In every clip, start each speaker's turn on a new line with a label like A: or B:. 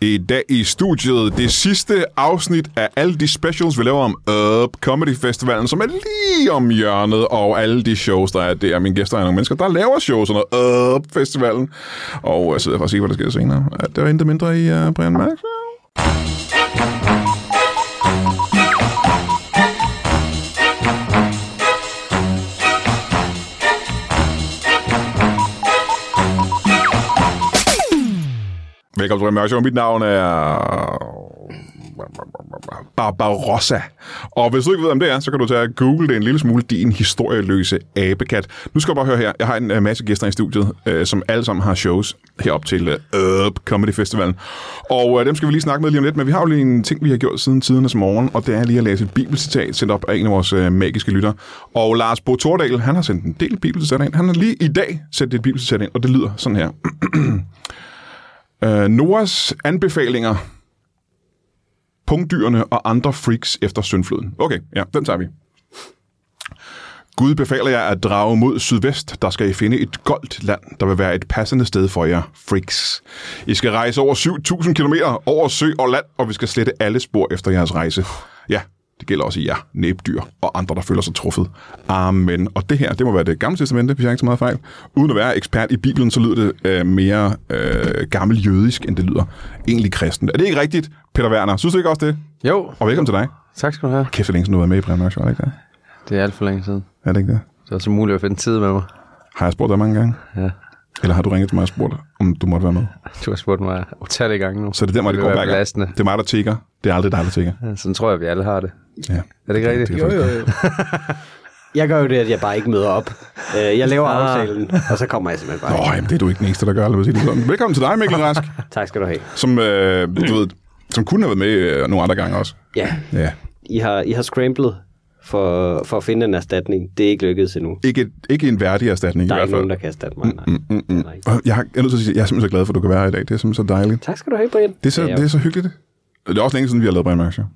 A: I dag i studiet det sidste afsnit af alle de specials, vi laver om Up Comedy Festivalen, som er lige om hjørnet, og alle de shows, der er der. Mine gæster er nogle mennesker, der laver shows under Up Festivalen. Og øh, jeg sidder for at se, hvad der sker senere. Ja, Det var intet mindre i uh, Brian Mærk. Velkommen til Brian Mørk Show. Mit navn er... Barbarossa. Og hvis du ikke ved, om det er, så kan du tage og google det en lille smule. Din historieløse abekat. Nu skal du bare høre her. Jeg har en øh, masse gæster i studiet, øh, som alle sammen har shows herop til øh, Up Comedy Festivalen. Og øh, dem skal vi lige snakke med lige om lidt, men vi har jo lige en ting, vi har gjort siden tidernes morgen, og det er lige at læse et bibelcitat sendt op af en af vores øh, magiske lytter. Og Lars Bo Tordal, han har sendt en del bibelcitater ind. Han har lige i dag sendt et bibelcitat ind, og det lyder sådan her. Øh, Noras anbefalinger Pungdyrene og andre freaks efter syndfloden. Okay, ja, den tager vi. Gud befaler jer at drage mod sydvest, der skal I finde et goldt land, der vil være et passende sted for jer, freaks. I skal rejse over 7.000 km over sø og land, og vi skal slette alle spor efter jeres rejse. Ja, det gælder også jer, næbdyr og andre, der føler sig truffet. Amen. Og det her, det må være det gamle testamente, hvis jeg ikke så meget fejl. Uden at være ekspert i Bibelen, så lyder det øh, mere øh, gammel jødisk, end det lyder egentlig kristen. Er det ikke rigtigt, Peter Werner? Synes du ikke også det?
B: Jo,
A: Og velkommen til dig.
B: tak skal du have.
A: Kæft, så længe siden du har været med i Brian Mørk Show, er det ikke det?
B: Det er alt for længe siden.
A: Er det ikke det?
B: Det er også muligt at finde tid med mig.
A: Har jeg spurgt dig mange gange?
B: Ja.
A: Eller har du ringet til mig og spurgt, om du måtte være med?
B: Du har spurgt mig utallige gange nu.
A: Så det er der, hvor det,
B: vil
A: går
B: være
A: hver gang.
B: belastende.
A: Det er mig, der tigger. Det er aldrig dig, der tigger.
B: Ja, Sådan tror jeg, vi alle har det.
A: Ja.
B: Er det ikke rigtigt?
A: Det er faktisk-
C: jo. Jeg gør jo det, at jeg bare ikke møder op. Øh, Jeg laver
B: Ah.
C: aftalen, og så kommer jeg simpelthen bare.
A: Nå, jamen, det er du ikke den eneste, der gør. Lad mig sige det sådan. Velkommen til dig, Mikkel Rask,
C: Tak skal du have.
A: som, øh, du ved, som kunne have været med øh, nogle andre gange også.
C: Ja,
A: Ja.
C: I har, I har scramblet for, for at finde en erstatning. Det er ikke lykkedes endnu.
A: Ikke, ikke en værdig erstatning
C: Der
A: i
C: er
A: hvert
C: ikke nogen,
A: fald. Mm,
C: der kan erstatte mig. Nej. Det er der ikke.
A: Og Jeg, har- jeg er nødt til at sige, at jeg er simpelthen så glad for, at du kan være her i dag. Det er simpelthen så dejligt.
C: Tak skal du have, Brian. Øh,
A: Det er så,
C: ja,
A: det er så hyggeligt. Det er også længe siden, vi har lavet Brian Mørk Show.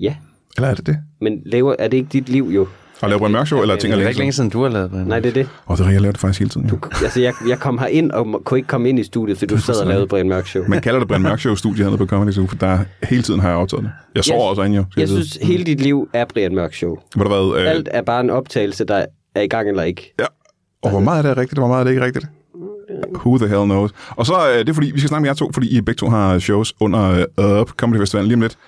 C: ja,
A: Eller er det det?
C: men laver, er det ikke dit liv jo?
A: Har lavet Brian Mørk Show, eller ting
B: Det
A: er
B: er da
A: længe
B: ikke længe
A: siden?
B: siden, du har lavet Brian.
C: Nej, det er det.
A: Og det er jeg laver det faktisk hele tiden. Jo.
C: Altså, jeg, jeg kom herind og må- kunne ikke komme ind i studiet, fordi du sad og lavede Brian Mørk Show.
A: Man kalder det Brian Mørk Show studie hernede på Comedy Zoo, for der hele tiden har jeg optaget det. Jeg sover
C: Jeg-
A: også inde jo. skal
C: Jeg
A: vide.
C: synes, hele dit liv er Brian Mørk Show.
A: Hvor der været, øh,
C: Alt er bare en optagelse, der er i gang eller ikke.
A: Ja. Og hvor meget er det rigtigt, og hvor meget er det ikke rigtigt?
C: Øh.
A: Who the hell knows? Og så øh, det er fordi, vi skal snakke med jer to, fordi I begge to har shows under øh, Up Comedy Festivalen lige om lidt.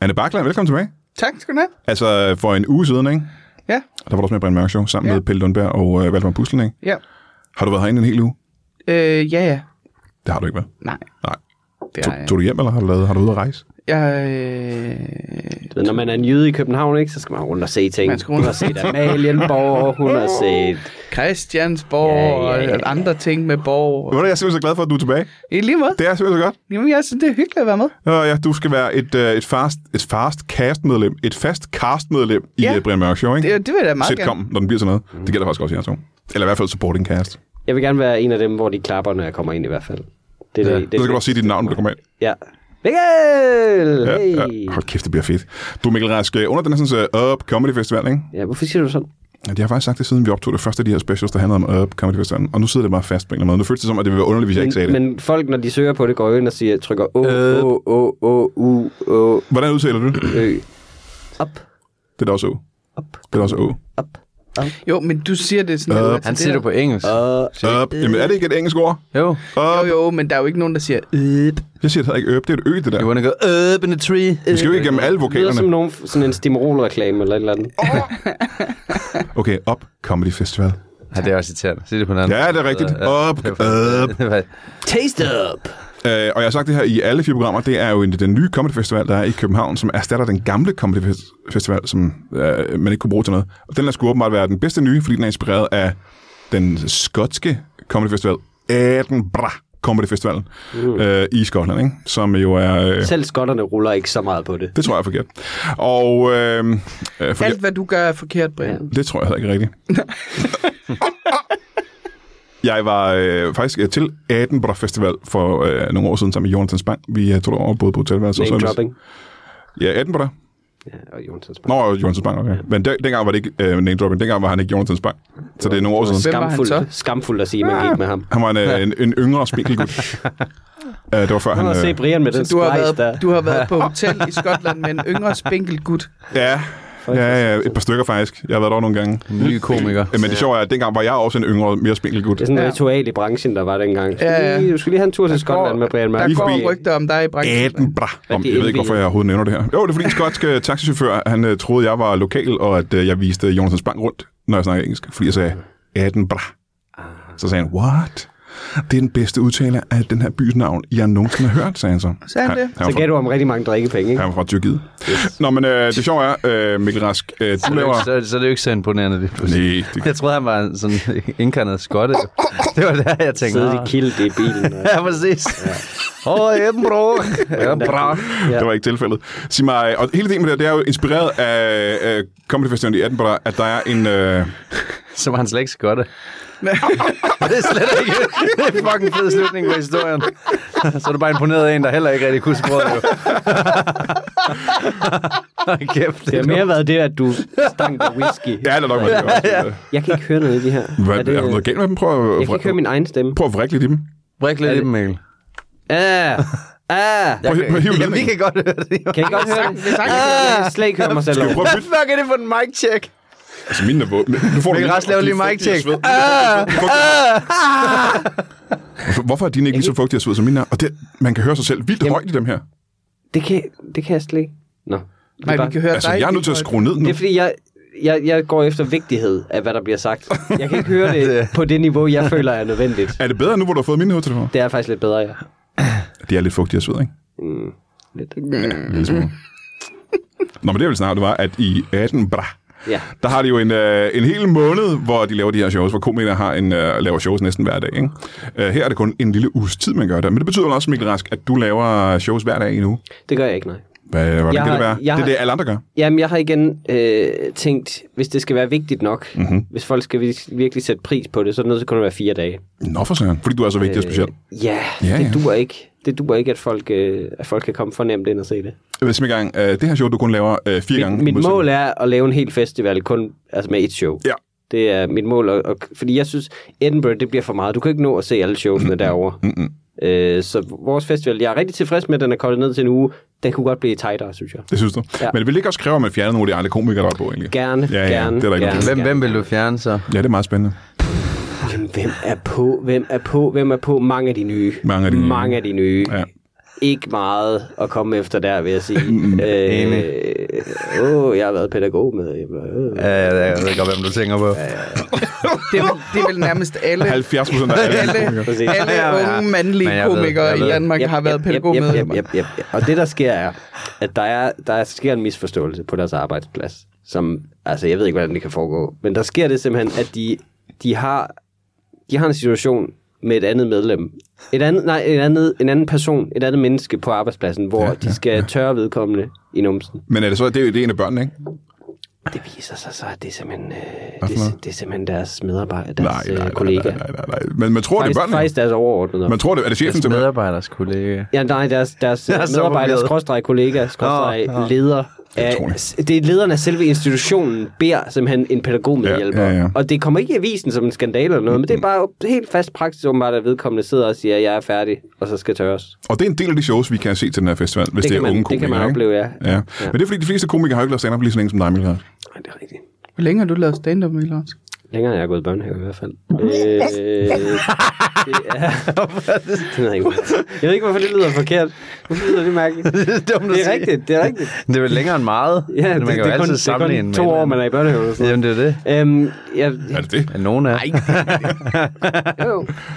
A: Anne Bakland, velkommen tilbage.
D: Tak skal du have.
A: Altså for en uge siden, ikke?
D: Ja,
A: Der var du også med i Brian Mørk Show, sammen ja.
D: Ja.
A: med Pelle Lundberg og øh, Valdemar Puslen, ikke?
D: ja.
A: Har du været herinde en hel uge?
D: Øh, ja, ja.
A: Det har du ikke været.
D: Nej,
A: Nej.
D: det
A: Tog,
D: er
A: tog du hjem, eller har du, lavet, har du været ude at rejse?
D: jeg. Øh,
C: Du ved, Når man er en jøde i København, ikke, så skal man rundt og se ting.
D: Man skal rundt
C: Hun har
D: og se
C: set Amalienborg, hun har set...
D: Christiansborg
C: Ja, ja, ja.
D: og andre ting med borg.
A: Hvor er jeg simpelthen så glad for, at du er tilbage.
D: I lige måde.
A: Det er simpelthen så godt.
D: Jamen, jeg synes, det er hyggeligt at være med.
A: Øh, ja, du skal være et, øh, et, fast, et fast cast-medlem, et fast cast-medlem i
D: Ja.
A: ja. Brian Mørk Show, ikke?
D: Det, det vil jeg da meget
A: Sitcom, når den bliver sådan noget. Det gælder faktisk også jer to. Eller i hvert fald supporting cast.
C: Jeg vil gerne være en af dem, hvor de klapper, når jeg kommer ind i hvert fald. Det er
A: Ja.
C: det,
A: Så skal du også sige dit navn, når du kommer ind.
C: Ja. Mikkel!
A: Ja,
C: Hey!
A: ja. Hold kæft, det bliver fedt. Du Mikkel Rask, øh, under den her sådan, øh, Up Comedy Festival, ikke?
C: Ja, hvorfor siger du sådan?
A: Ja, de har faktisk sagt det, siden vi optog det første af de her specials, der handlede om Up Comedy Festival. Og nu sidder det bare fast på en eller anden måde. Nu føles det som, at det ville være underligt, hvis jeg ikke sagde
C: Men,
A: det. Øh.
C: men folk, når de søger på det, går jo ind og siger, trykker O, O, O, O, U, O,
A: Hvordan udtaler du det?
C: Ø. Op,
A: Det er da også O.
C: op,
A: Det er da også O.
C: op.
D: Jo, men du siger det sådan.
A: Øh.
D: Uh,
B: Han siger det på engelsk.
C: Og
A: Up. Jamen, er det ikke et engelsk ord?
B: Jo,
D: Jo,
A: Up.
D: jo, men der er jo ikke nogen, der siger øh.
A: Jeg siger det ikke øp. Det er et ø, det der.
B: you wanna go up in the tree?
A: Vi skal jo ikke igennem alle
C: det lyder
A: vokalerne.
C: som nogen, sådan en stimorol-reklame eller et eller andet.
A: Okay, Up Comedy Festival.
B: Ja, det er også irriterende. Sig det på den anden. Øh,
A: Ja, det er rigtigt. Up, up.
B: up.
C: Taste up!
A: Øh, og jeg har sagt det her i alle fire programmer, det er jo en, den nye Comedy Festival, der er i København, som erstatter den gamle Comedy Fes- Festival, som øh, man ikke kunne bruge til noget. Og den der skulle åbenbart være den bedste nye, fordi den er inspireret af den skotske Comedy Festival, Edinburgh Comedy Festival mm. øh, i Skotland, ikke? som jo er... Øh,
C: Selv skotterne ruller ikke så meget på det.
A: det tror jeg er forkert. Og øh, øh, fordi,
D: Alt, hvad du gør, er forkert, Brian.
A: det tror jeg heller ikke rigtigt. Jeg var øh, faktisk øh, til Edinburgh Festival for øh, nogle år siden sammen med Jonathan Spang. Vi øh, tog over både på hotelværelset og
C: Name
A: sådan noget.
C: dropping.
A: Ja, Edinburgh.
C: Ja, og Jonsens
A: Nå, og Jonathan Spang, okay. Men der, dengang var det ikke øh, name dropping. Dengang var han ikke Jonathan Spang. Så det er nogle år siden.
D: Hvem var han
C: Skamfuldt,
D: så? Ah.
C: skamfuldt at sige, at man gik med ham.
A: Han var en, øh, en, en yngre spinkelgud. Uh, det var før
C: Nu
A: han...
C: har se
A: Øh,
C: Brian med den
D: Du har,
C: spice der.
D: været, du har været på hotel i Skotland med en yngre spinkel gut.
A: ja, ja, ja, et par stykker faktisk. Jeg har været der nogle gange.
B: En ny komiker.
A: Men det sjove er, at dengang var jeg også en yngre, mere spinkelgud.
C: Det er sådan et
D: Ja.
C: ritual i branchen, der var dengang. Du
D: Ja, ja.
C: skulle lige, du skulle lige have en tur til Skotland med Brian Mørk.
D: Der
A: forbi-
D: går rygter om dig i branchen.
A: Edinburgh.
C: Ja,
A: Om,
C: det er
A: jeg ved ikke, hvorfor jeg overhovedet nævner det her. Jo, det er fordi en skotsk øh, taxichauffør, han øh, troede, jeg var lokal, og at øh, jeg viste Jonas Spang rundt, når jeg snakkede engelsk, fordi jeg sagde Edinburgh. Så sagde han, what? Det er den bedste udtale af den her bys navn, jeg nogensinde har hørt, sagde han så.
D: Sagde han det?
A: Han,
C: Så
A: han, var,
C: gav du om rigtig mange drikkepenge, ikke?
A: fra, han var fra Tyrkiet. Yes. Nå, men øh, det sjove er, øh, Mikkel Rask, øh, du
B: Så er det jo
A: laver...
B: ikke- Så, så er det jo ikke så imponerende. Det.
A: Nej, det,
B: Jeg troede, han var en sådan indkarnet skotte. Det var der, jeg tænkte.
C: Sidde i
B: "Ah."
C: kilt i bilen. Og...
B: Ja, præcis. Åh, oh, Edinbro. Ja, bra.
A: Ja. Det var ikke tilfældet. Sig mig, og hele ideen med det, her, det er jo inspireret af, af øh, Comedy Festival i Edinburgh, at der er en... Øh,
B: Så var han slet ikke skotte. det er slet ikke det er en fucking fed slutning på historien. Så er du bare imponeret af en, der heller ikke rigtig kunne sproget. Jo. Hold Kæft,
C: Det har mere været det, at du stank af whisky.
A: ja, eller nok med det. Også, øh,
C: Jeg kan ikke høre noget i det her.
A: Hvad,
C: er
A: er,
C: det,
A: der noget galt med dem? Prøv at,
C: jeg kan ikke høre min egen stemme.
A: prøv at vrikke lidt i dem.
B: Brik lidt i dem, Mikkel.
C: Ah, ah.
A: Prøv, prøv at hive
B: Jamen, vi
A: ledningen.
B: kan godt høre det.
C: Kan I godt høre det?
D: sagtens.
C: Ah, Jeg kan slet ikke høre mig selv.
A: Skal vi prøve at bytte?
B: fuck er det for en mic check?
A: Altså, min er våd. Men Nu får
B: Mikkel
A: du
B: Rask laver lige mic check.
A: Ah. Hvorfor er dine ikke lige så fugtige og sved som mine er? Og det, man kan høre sig selv vildt højt i dem her.
C: Det kan, det kan jeg slet ikke. Nå. Det er
D: Nej,
C: bare-
D: vi kan høre
A: Altså,
D: dig.
A: jeg er nødt til at skrue ned nu.
C: Det er fordi, jeg, jeg, jeg går efter vigtighed af, hvad der bliver sagt. Jeg kan ikke høre det på det niveau, jeg føler er nødvendigt.
A: Er det bedre nu, hvor du har fået mine hovedtelefoner?
C: Det er faktisk lidt bedre, ja.
A: De er lidt fugtige og sved, ikke?
C: Lidt.
A: En lille Mm-hmm. smule. Nå, men det jeg ville snakke om, det var, at i Edinburgh,
C: Ja.
A: der har de jo en, øh, en hel måned, hvor de laver de her shows, hvor komikere har en, øh, laver shows næsten hver dag. Ikke? Øh, her er det kun en lille uges tid, man gør det. Men det betyder vel også, Mikkel Rask, at du laver shows hver dag endnu.
C: Det gør jeg ikke, nej.
A: Hvad, hvordan kan
C: Jeg
A: det
C: har-
A: være?
C: jeg
A: det er
C: har-
A: det, alle andre gør.
C: Jamen, jeg har igen øh, tænkt, hvis det skal være vigtigt nok,
A: Mhm.
C: mm-hmm. hvis folk skal vir- virkelig sætte pris på det, så er det nødt til kun at være fire dage.
A: Nå for søren, fordi du er så
C: Øh,
A: vigtig og speciel.
C: Ja,
A: Ja,
C: ja
A: ja.
C: det duer ikke. Det duer ikke, at folk, øh, at folk kan komme for nemt ind og se det.
A: Jeg vil simpelthen gang, øh, det her show, du kun laver øh, fire gange. i
C: Mit, mit
A: modsætning-
C: mål er at lave en hel festival kun altså med et show.
A: Ja.
C: Det er mit mål, og, og, fordi jeg synes, Edinburgh, det bliver for meget. Du kan ikke nå at se alle showsene derovre. Øh, så vores festival, jeg er rigtig tilfreds med, at den er kortet ned til en uge. Den kunne godt blive tightere, synes jeg.
A: Det synes du. Ja.
C: Ja.
A: Men det vil ikke også kræve, at man fjerner nogle af de andre komikere, der er på, egentlig.
C: Gerne,
A: Ja, ja,
C: gerne,
A: det er der ikke
C: gerne.
A: noget.
B: Hvem, hvem vil du fjerne så?
A: Ja, det er meget spændende.
C: Jamen, hvem er på? Hvem er på? Hvem er på? Mange af de nye.
A: Mange af de nye.
C: Mange af de nye.
A: Ja.
C: Ikke meget at komme efter der, vil jeg sige. øh, åh, jeg har været pædagog med. Øh.
B: Ja, ja, ja, jeg ved godt, hvem du tænker på.
D: Det er, vel, det er vel nærmest alle,
A: 70 procent af alle
D: alle,
A: komikere.
C: Præcis.
D: alle
B: Ja, ja.
D: unge
B: Men
D: mandlige
B: jeg ved-
D: komikere
B: jeg
D: i
B: ved.
D: Danmark har været pædagogmedlemmer.
C: Yep, yep, yep, yep. Og det, der sker, er, at der, er, der sker en misforståelse på deres arbejdsplads, som, altså jeg ved ikke, hvordan det kan foregå, men der sker det simpelthen, at de, de, har, de har en situation med et andet medlem. Et andet, nej, en, andet, en anden person, et andet menneske på arbejdspladsen, hvor ja, de skal ja. tørre vedkommende i numsen.
A: Men er det så, det er, det er en af børnene, ikke?
C: Det viser sig så, at det er simpelthen, øh,
A: for
C: det, er-
A: noget?
C: det er simpelthen deres medarbejder, deres
A: Nej,
C: nej,
A: nej, nej,
C: øh, kollega.
A: nej, nej, nej, nej. Men man tror,
C: Faktisk,
A: det er børnene.
C: faktisk deres overordnede.
A: Man tror, det er det chefen til børnene.
B: Medarbejders kollega.
C: Ja, nej, deres, deres
B: Jeg er så
C: medarbejder,
B: forvirret.
C: skråstreg kollega, skråstreg
B: Nå, nå.
C: leder.
A: er
C: Af,
A: utroligt.
C: det er lederen af selve institutionen, beder simpelthen en pædagog med hjælper.
A: Ja, ja, ja.
C: Og det kommer ikke i avisen som en skandale eller noget, men det er bare helt fast praksis, åbenbart, at vedkommende sidder og siger, at jeg er færdig, og så skal tørres.
A: Og det er en del af de shows, vi kan se til den her festival, hvis det,
C: Det
A: det er
C: kan man,
A: unge
C: det
A: komikere.
C: kan man
A: ikke?
C: opleve, ja.
A: Ja. ja. Men det er fordi, de fleste komikere har jo ikke lavet stand-up lige så længe som dig, Mikkel Rask.
C: Nej, det er rigtigt.
D: Hvor længe har du lavet stand-up, Milos?
C: Længere end jeg er gået i børnehave i hvert fald. Øh, det er... Det ved jeg, ikke, hvorfor. jeg ved ikke, hvorfor det lyder forkert. Hvorfor lyder det mærkeligt?
B: Det er, dumt at
C: Det er
B: sige.
C: rigtigt, det er rigtigt.
B: Det er vel længere end meget.
C: Ja, det,
B: man
C: det,
B: kan jo
C: er kun,
B: altid
C: det er
B: sammenligne
C: kun
B: med
C: to
B: en
C: år,
B: eller
C: man er i børnehave. og sådan noget.
B: anden. Jamen, det er det.
C: Øhm, jeg,
A: Er det det?
B: Ja, Nogen er.
C: jo,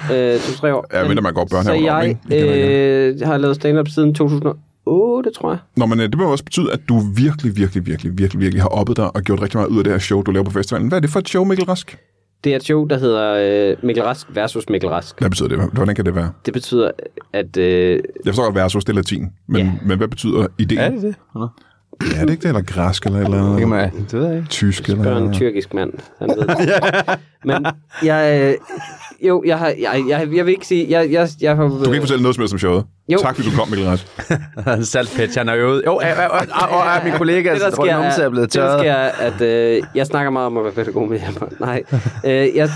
C: jo. øh, to-tre år.
A: Ja, mindre man går
C: Så
A: børnehave om,
C: jeg
A: ikke? Det kan man
C: øh, har lavet stand-up siden 2008, tror jeg.
A: Nå, men øh, det må jo også betyde, at du virkelig, virkelig, virkelig, virkelig, virkelig har oppet dig og gjort rigtig meget ud af det her show, du laver på festivalen. Hvad er det for et show, Mikkel Rask?
C: Det er et show, der hedder øh, Mikkel Rask versus Mikkel Rask.
A: Hvad betyder det? Hvordan kan det være?
C: Det betyder, at... Øh,
A: Jeg forstår godt, versus, det er latin. Men,
C: Ja.
A: men hvad betyder ideen?
B: Er det det? Nå,
A: Ja, det er ikke det, eller græsk, eller, eller
B: Det kan man, det ved jeg ikke.
A: tysk, eller...
C: spørger en tyrkisk mand. Han ved det. Men jeg... Øh, jo, jeg, har, jeg, jeg, jeg vil ikke sige... Jeg, jeg, jeg har,
A: Du kan ikke fortælle noget som helst om showet.
C: Jo.
A: Tak, fordi du kom, Mikkel Rask.
B: Han saltpæt, han er øvet. Jo, og, og, og, og min kollega,
C: det, der
B: altså,
C: sker,
B: rumse er blevet
C: det, der
B: tørret.
C: sker er, at øh, jeg snakker meget om at være pædagog med hjælper. Nej. Øh, jeg,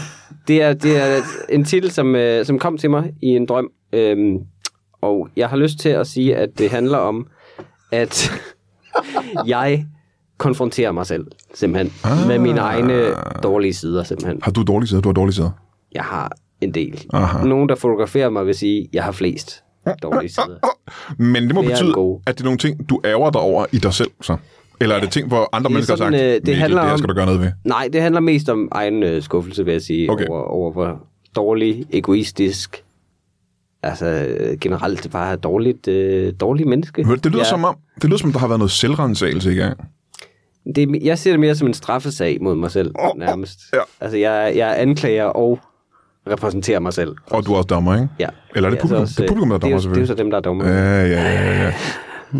C: det, er, det er en titel, som, øh, som kom til mig i en drøm. Øh, Og jeg har lyst til at sige, at det handler om, at jeg konfronterer mig selv, simpelthen. Ah. Med mine egne dårlige sider, simpelthen.
A: Har du dårlige sider? Du har dårlige sider.
C: Jeg har en del.
A: Aha.
C: Nogen, der fotograferer mig, vil sige, at jeg har flest dårlige sider.
A: Men det må
C: Flere
A: betyde,
C: end gode.
A: at det er nogle ting, du ærger dig over i dig selv, så? Eller er det ting, hvor andre
C: Det er
A: mennesker
C: sådan,
A: har
C: øh,
A: sagt,
C: det
A: det, handler
C: handler
A: det her
C: om-
A: skal du gøre noget ved?
C: Nej, det handler mest om egen øh, skuffelse, vil jeg sige,
A: Okay.
C: okay. over, over hvor dårlig, egoistisk, altså øh, generelt bare dårligt, øh, dårlig menneske.
A: Hør, Det lyder,
C: jeg,
A: ja. som om, det lyder som, om, der har været noget selvrensagelse i gang.
C: Det, er- jeg ser det mere som en straffesag mod mig selv,
A: Åh, åh,
C: nærmest.
A: ja.
C: Altså, jeg, jeg anklager og repræsenterer mig selv.
A: Og du er også dommer, ikke?
C: Ja.
A: Eller er det
C: Ja,
A: publikum?
C: så også, øh,
A: Det er publikum, der er
C: det er,
A: dommer,
C: jo- Det er jo så
A: selvfølgelig. Øh.
C: dem, der er dommer.
A: Ja, ja, ja, ja.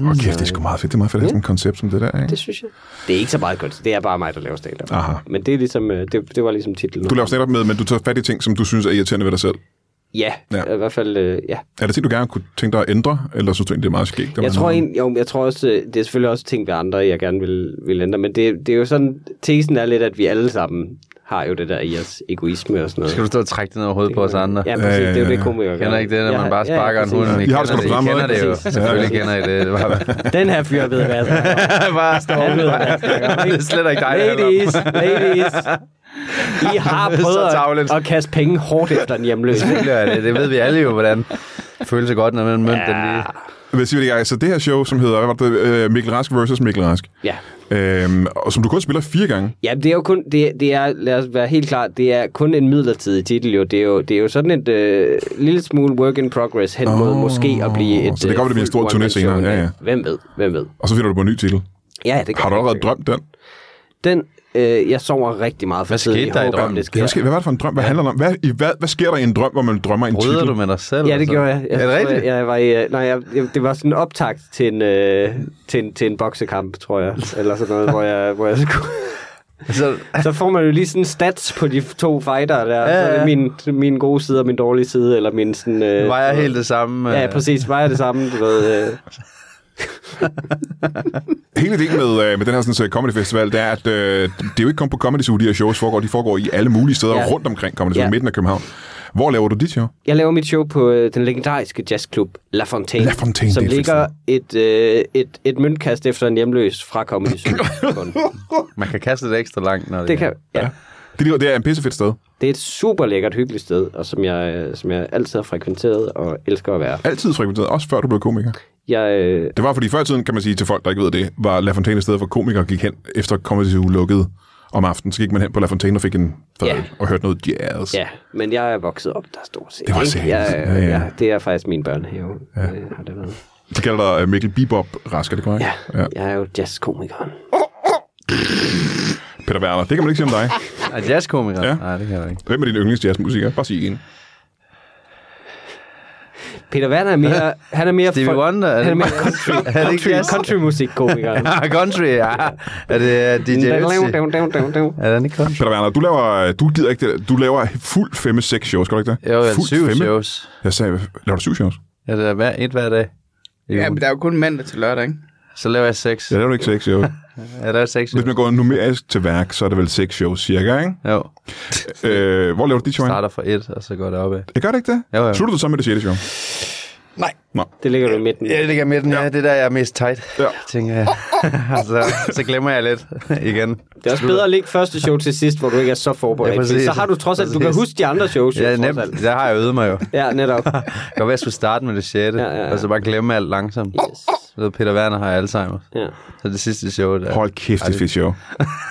A: Åh, kæft, det er sgu meget fedt. Det er meget fedt at have sådan et koncept som det der, ikke?
C: Det synes jeg. Det er ikke så meget kunst. Det er bare mig, der laver stand
A: Aha.
C: Men det, er ligesom, øh, det, det var ligesom titlen.
A: Du laver stand med, men du tager fat i ting, som du synes er irriterende ved dig selv.
C: Ja,
A: Ja.
C: ja. i hvert fald, øh, ja.
A: Er det ting, du gerne kunne tænke dig at ændre, eller synes du egentlig, det er meget skægt? at
C: Jeg
A: man
C: tror,
A: har-
C: en, jo, jeg tror også, øh, det er selvfølgelig også ting ved andre, jeg gerne vil, vil ændre, men det, det er jo sådan, tesen er lidt, at vi alle sammen har jo det der i os egoisme og sådan noget.
B: Skal du stå og trække det ned over hovedet på os andre?
C: Ja,
B: Ja.
C: præcis, det er jo
A: Ja, ja,
C: det
A: ja.
C: komikere
B: Kender I ikke det, når man bare sparker en hund? I
A: I har det sgu da
B: kender
A: på
B: I
A: samme
B: kender
A: måde.
B: det jo.
A: Præcis.
B: Selvfølgelig kender I det. det var,
C: Den her fyr ved, hvad jeg snakker om.
B: bare stå
C: Han ved, hvad jeg snakker om.
B: Det er slet ikke dig, det handler om.
C: Ladies, ladies. I har
B: Det er så
C: prøvet
B: tarveligt.
C: at, at kaste penge hårdt efter en hjemløs.
B: Selvfølgelig er det. Det ved vi alle jo, hvordan det føles så godt, når man mønter den lige.
A: Hvad siger vi det, Jacob? Så det her show, som hedder hvad var det, øh, Mikkel Rask versus Mikkel Rask,
C: Ja.
A: øhm, og som du kun spiller fire gange.
C: Ja, det er jo kun, det, det er, lad os være helt klar, det er kun en midlertidig titel jo. Det er jo, det er jo sådan et øh, lille smule work in progress hen mod
A: Åh,
C: måske at blive et...
A: så det kan godt være, det bliver en stor
C: fuldt
A: turné
C: one-man-show
A: senere.
C: en
A: Ja,
C: dag.
A: ja.
C: Hvem ved, hvem ved.
A: Og så finder du på en ny titel.
C: Ja, det kan
A: Har du
C: jeg
A: allerede
C: sikkert.
A: drømt den?
C: Den, øh, jeg sover rigtig meget for
B: Hvad
C: tiden.
B: skete
C: Jeg
B: der i
C: håber,
B: drømmen?
C: Det
A: Ja.
C: sker.
A: Hvad, sker, hvad var det for en drøm? Hvad handler det om? Hvad, i, hvad, hvad sker der i en drøm, hvor man drømmer en
B: Bryder
A: titel?
B: du med dig selv? altså?
C: Ja, det gjorde jeg. jeg
B: er det
C: tror,
B: rigtigt?
C: Jeg, jeg var i, øh, nej, jeg, jeg, det var sådan en optakt til en, øh, til en, til en boksekamp, tror jeg. Eller sådan noget, hvor jeg, hvor jeg skulle...
B: Så,
C: Så får man jo lige sådan stats på de to fighter der. Ja,
B: Ja,
C: ja. Så er
B: ja.
C: det min, min gode side og min dårlige side, eller min sådan... Øh,
B: var jeg helt det samme.
C: Ja,
B: øh,
C: præcis. Vejer det samme, du ved. Øh.
A: Hele ideen med, øh, med den her sådan, så comedy festival, det er, at øh, det er jo ikke kun på Comedy Zoo, de her shows foregår. De foregår i alle mulige steder ja.
C: Ja.
A: rundt omkring Comedy Zoo, ja.
C: Ja.
A: midten af København. Hvor laver du dit show?
C: Jeg laver mit show på øh, den legendariske jazzklub La Fontaine,
A: La Fontaine,
C: som
A: det er et fedt
C: ligger et, øh, et, et møntkast efter en hjemløs fra Comedy Zoo. Kun.
B: Man kan kaste det ekstra langt, når det,
C: det, kan, ja.
A: Det, ligger- det er en pissefedt sted.
C: det er et super lækkert, hyggeligt sted, og som jeg, øh, som jeg altid har frekventeret og elsker at være.
A: Altid frekventeret, også før du blev komiker.
C: Jeg, øh,
A: Det var, fordi før i tiden, kan man sige til folk, der ikke ved det, var La Fontaine et sted, hvor komikere gik hen efter Comedy Zoo lukkede om aftenen. Så gik man hen på La Fontaine og fik en fad
C: Ja.
A: yeah. og hørte noget jazz.
C: ja, men jeg er vokset op der stort set.
A: Det var
C: ikke?
A: seriøst.
C: jeg,
A: Ja,
C: ja,
A: ja.
C: ja. ja, Det er faktisk min børnehave, ja. øh, har det været.
A: De kalder dig øh, Mikkel Bebop Rask, er det korrekt?
C: Ja, ja. jeg er jo jazzkomikeren.
A: Peter Werner, det kan man ikke sige om dig.
B: Er jazzkomiker?
A: Ja.
B: Nej, det kan jeg ikke.
A: Hvem er din yndlings jazzmusiker? Bare sig en.
C: Peter Werner er mere... Han er mere
B: Stevie
C: folk-
B: Wonder? Er
C: han er
B: det-
C: mere country,
B: Er det ikke
C: country,
B: jazz?
C: countrymusikkomiker.
B: Ah, country, ja. Er det øh, DJ Ötzi? Er den ikke country?
A: Peter Werner, du laver, øh, du gider ikke det, du laver fuld femme seks shows, skal du ikke det?
B: Jo, jeg
A: fuld
B: syv shows.
A: Jeg sagde, laver du syv shows?
B: Ja, det er hver, et hver dag. I
D: Ja,
B: ugen.
D: men der er jo kun mandag til lørdag, ikke?
B: Så laver jeg seks.
A: Jeg laver ikke seks shows.
B: Ja, der er seks.
A: Hvis man går numerisk til værk, så er det vel seks shows cirka, ikke?
B: Jo,
A: Øh, hvor laver du dit show?
B: starter fra et, og så går det opad.
A: Jeg gør det ikke det?
B: Jo, jo.
A: Slutter du så med det sjette show?
B: Nej.
A: Nå.
C: Det ligger du i midten.
B: Ja, det ligger midten. Ja. Det er der, jeg er mest tight,
A: Ja.
B: ja. tænker jeg. så, så glemmer jeg lidt igen.
C: Det er også bedre at lægge første show til sidst, hvor du ikke er så forberedt.
B: Ja,
C: Ja,
B: præcis.
C: så har du trods alt, du kan
B: Præcis.
C: huske de andre shows. jo,
B: Ja,
C: trods
B: nemt.
C: alt.
B: Der har jeg øvet mig jo.
C: Ja, netop.
B: Det kan være, jeg skulle starte med det sjette,
C: Ja, ja, ja.
B: og så bare glemme alt langsomt.
C: Yes.
B: Så Peter Werner har Alzheimer.
C: Ja.
B: Så det sidste show, der,
A: Hold kæft, det er et fedt show.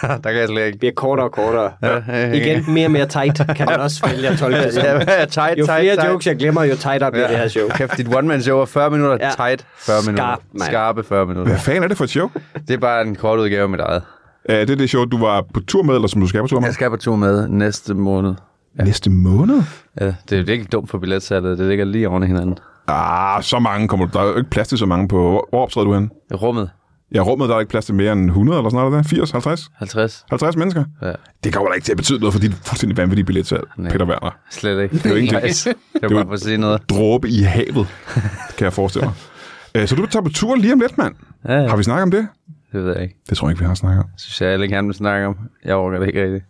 B: der kan jeg slet
C: Det
B: ikke.
C: bliver kortere og kortere.
B: Ja.
C: Igen, mere og mere tight, kan man også vælge at tolke det som.
B: Ja, jeg er tight,
C: Jo
B: tight,
C: flere
B: tight.
C: jokes, jeg glemmer, jo tightere bliver det her show.
B: Kæft, dit one-man-show er 40 minutter,
C: Ja.
B: ja. tight 40 minutter.
C: Skarp, mand.
B: Skarpe 40 minutter.
A: Hvad fanden er det for et show?
B: Det er bare en kort udgave af mit eget.
A: Er det det show, du var på tur med, eller som du skal på tur med?
B: Jeg skal på tur med næste måned.
A: Ja. Næste måned?
B: Ja, det er virkelig dumt for billetsalget. Det ligger lige oven i hinanden.
A: Ah, så mange kommer du. Der er jo ikke plads til så mange på... Hvor, hvor optræder du hen?
B: Rummet.
A: Ja, rummet, der er ikke plads til mere end 100 eller sådan noget. er der? 80, 50?
B: 50.
A: 50 mennesker?
B: Ja.
A: Det kommer da ikke til at betyde noget for dit fuldstændig vanvittige billetsalg,
B: Nej.
A: Peter Werner.
B: Slet ikke. Det
A: er jo ingenting.
B: Det var
A: Det er jo-
B: bare for at sige noget.
A: Dråbe i havet, kan jeg forestille mig. Øh, Så du tager på tur lige om lidt, mand.
B: Ja, ja.
A: Har vi snakket om det?
B: Det ved jeg ikke.
A: Det tror jeg ikke, vi har snakket om.
B: Det synes jeg, alle gerne vil snakke om. Jeg overgår det ikke rigtigt.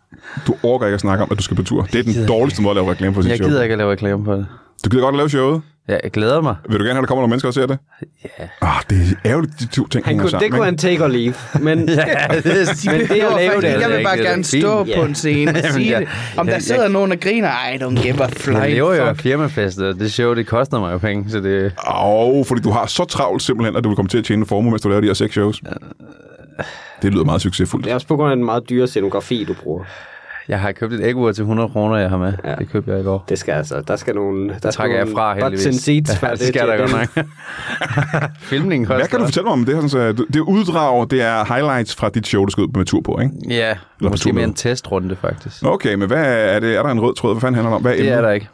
A: Du orker ikke at snakke om, at du skal på tur. Det er den
B: gider
A: dårligste måde at lave reklame for sit
B: Jeg
A: show.
B: gider ikke at lave reklame for det.
A: Du gider godt at lave showet.
B: Ja, jeg glæder mig.
A: Vil du gerne have, at der kommer nogle mennesker og ser det?
B: Ja.
A: Ah, det er ærgerligt, de to ting
C: Han
A: hænger
C: kunne,
A: sammen.
C: det kunne han take or leave. Men
B: Ja, det er
C: Men det at
D: var
C: lave
D: faktisk-
C: det,
D: jeg vil
B: det er
D: bare
B: ikke-
D: gerne
B: det er
D: stå
B: fint.
D: på en scene og
B: Jamen,
D: sige
B: jeg-
D: det. Om der
B: jeg-
D: sidder nogen og griner, I don't give a
B: Jeg
D: fly.
B: lever jo af
D: fuck."
B: firmafest, og det show, det koster mig jo penge, så det...
A: Åh, fordi du har så travlt simpelthen, at du vil komme til at tjene en formue, mens du laver de her seks shows.
B: Øh.
A: Det lyder meget succesfuldt.
C: det er også på grund af den meget dyre scenografi, du bruger.
B: Jeg har købt et æggeur til 100 kroner, jeg har med.
C: Ja.
B: Ja. Det købte jeg i går.
C: Det skal altså, der skal nogle... Der
B: Det trækker jeg
C: nogle
B: fra, heldigvis.
C: butts and seats,
B: ja,
C: før
B: det skal
C: til
B: der godt
C: den.
B: nok. Filmningen koster.
A: Hvad kan du fortælle mig om det her? Sådan, så øh, det er uddrag, det er highlights fra dit show, du skal ud på med tur på, ikke?
B: Ja,
A: Eller på
B: måske mere
A: turmøde.
B: en testrunde, faktisk.
A: Okay, men hvad er det? Er der en rød tråd? Hvad fanden handler det om? Hvad
B: Det
A: emnet?
B: er der ikke.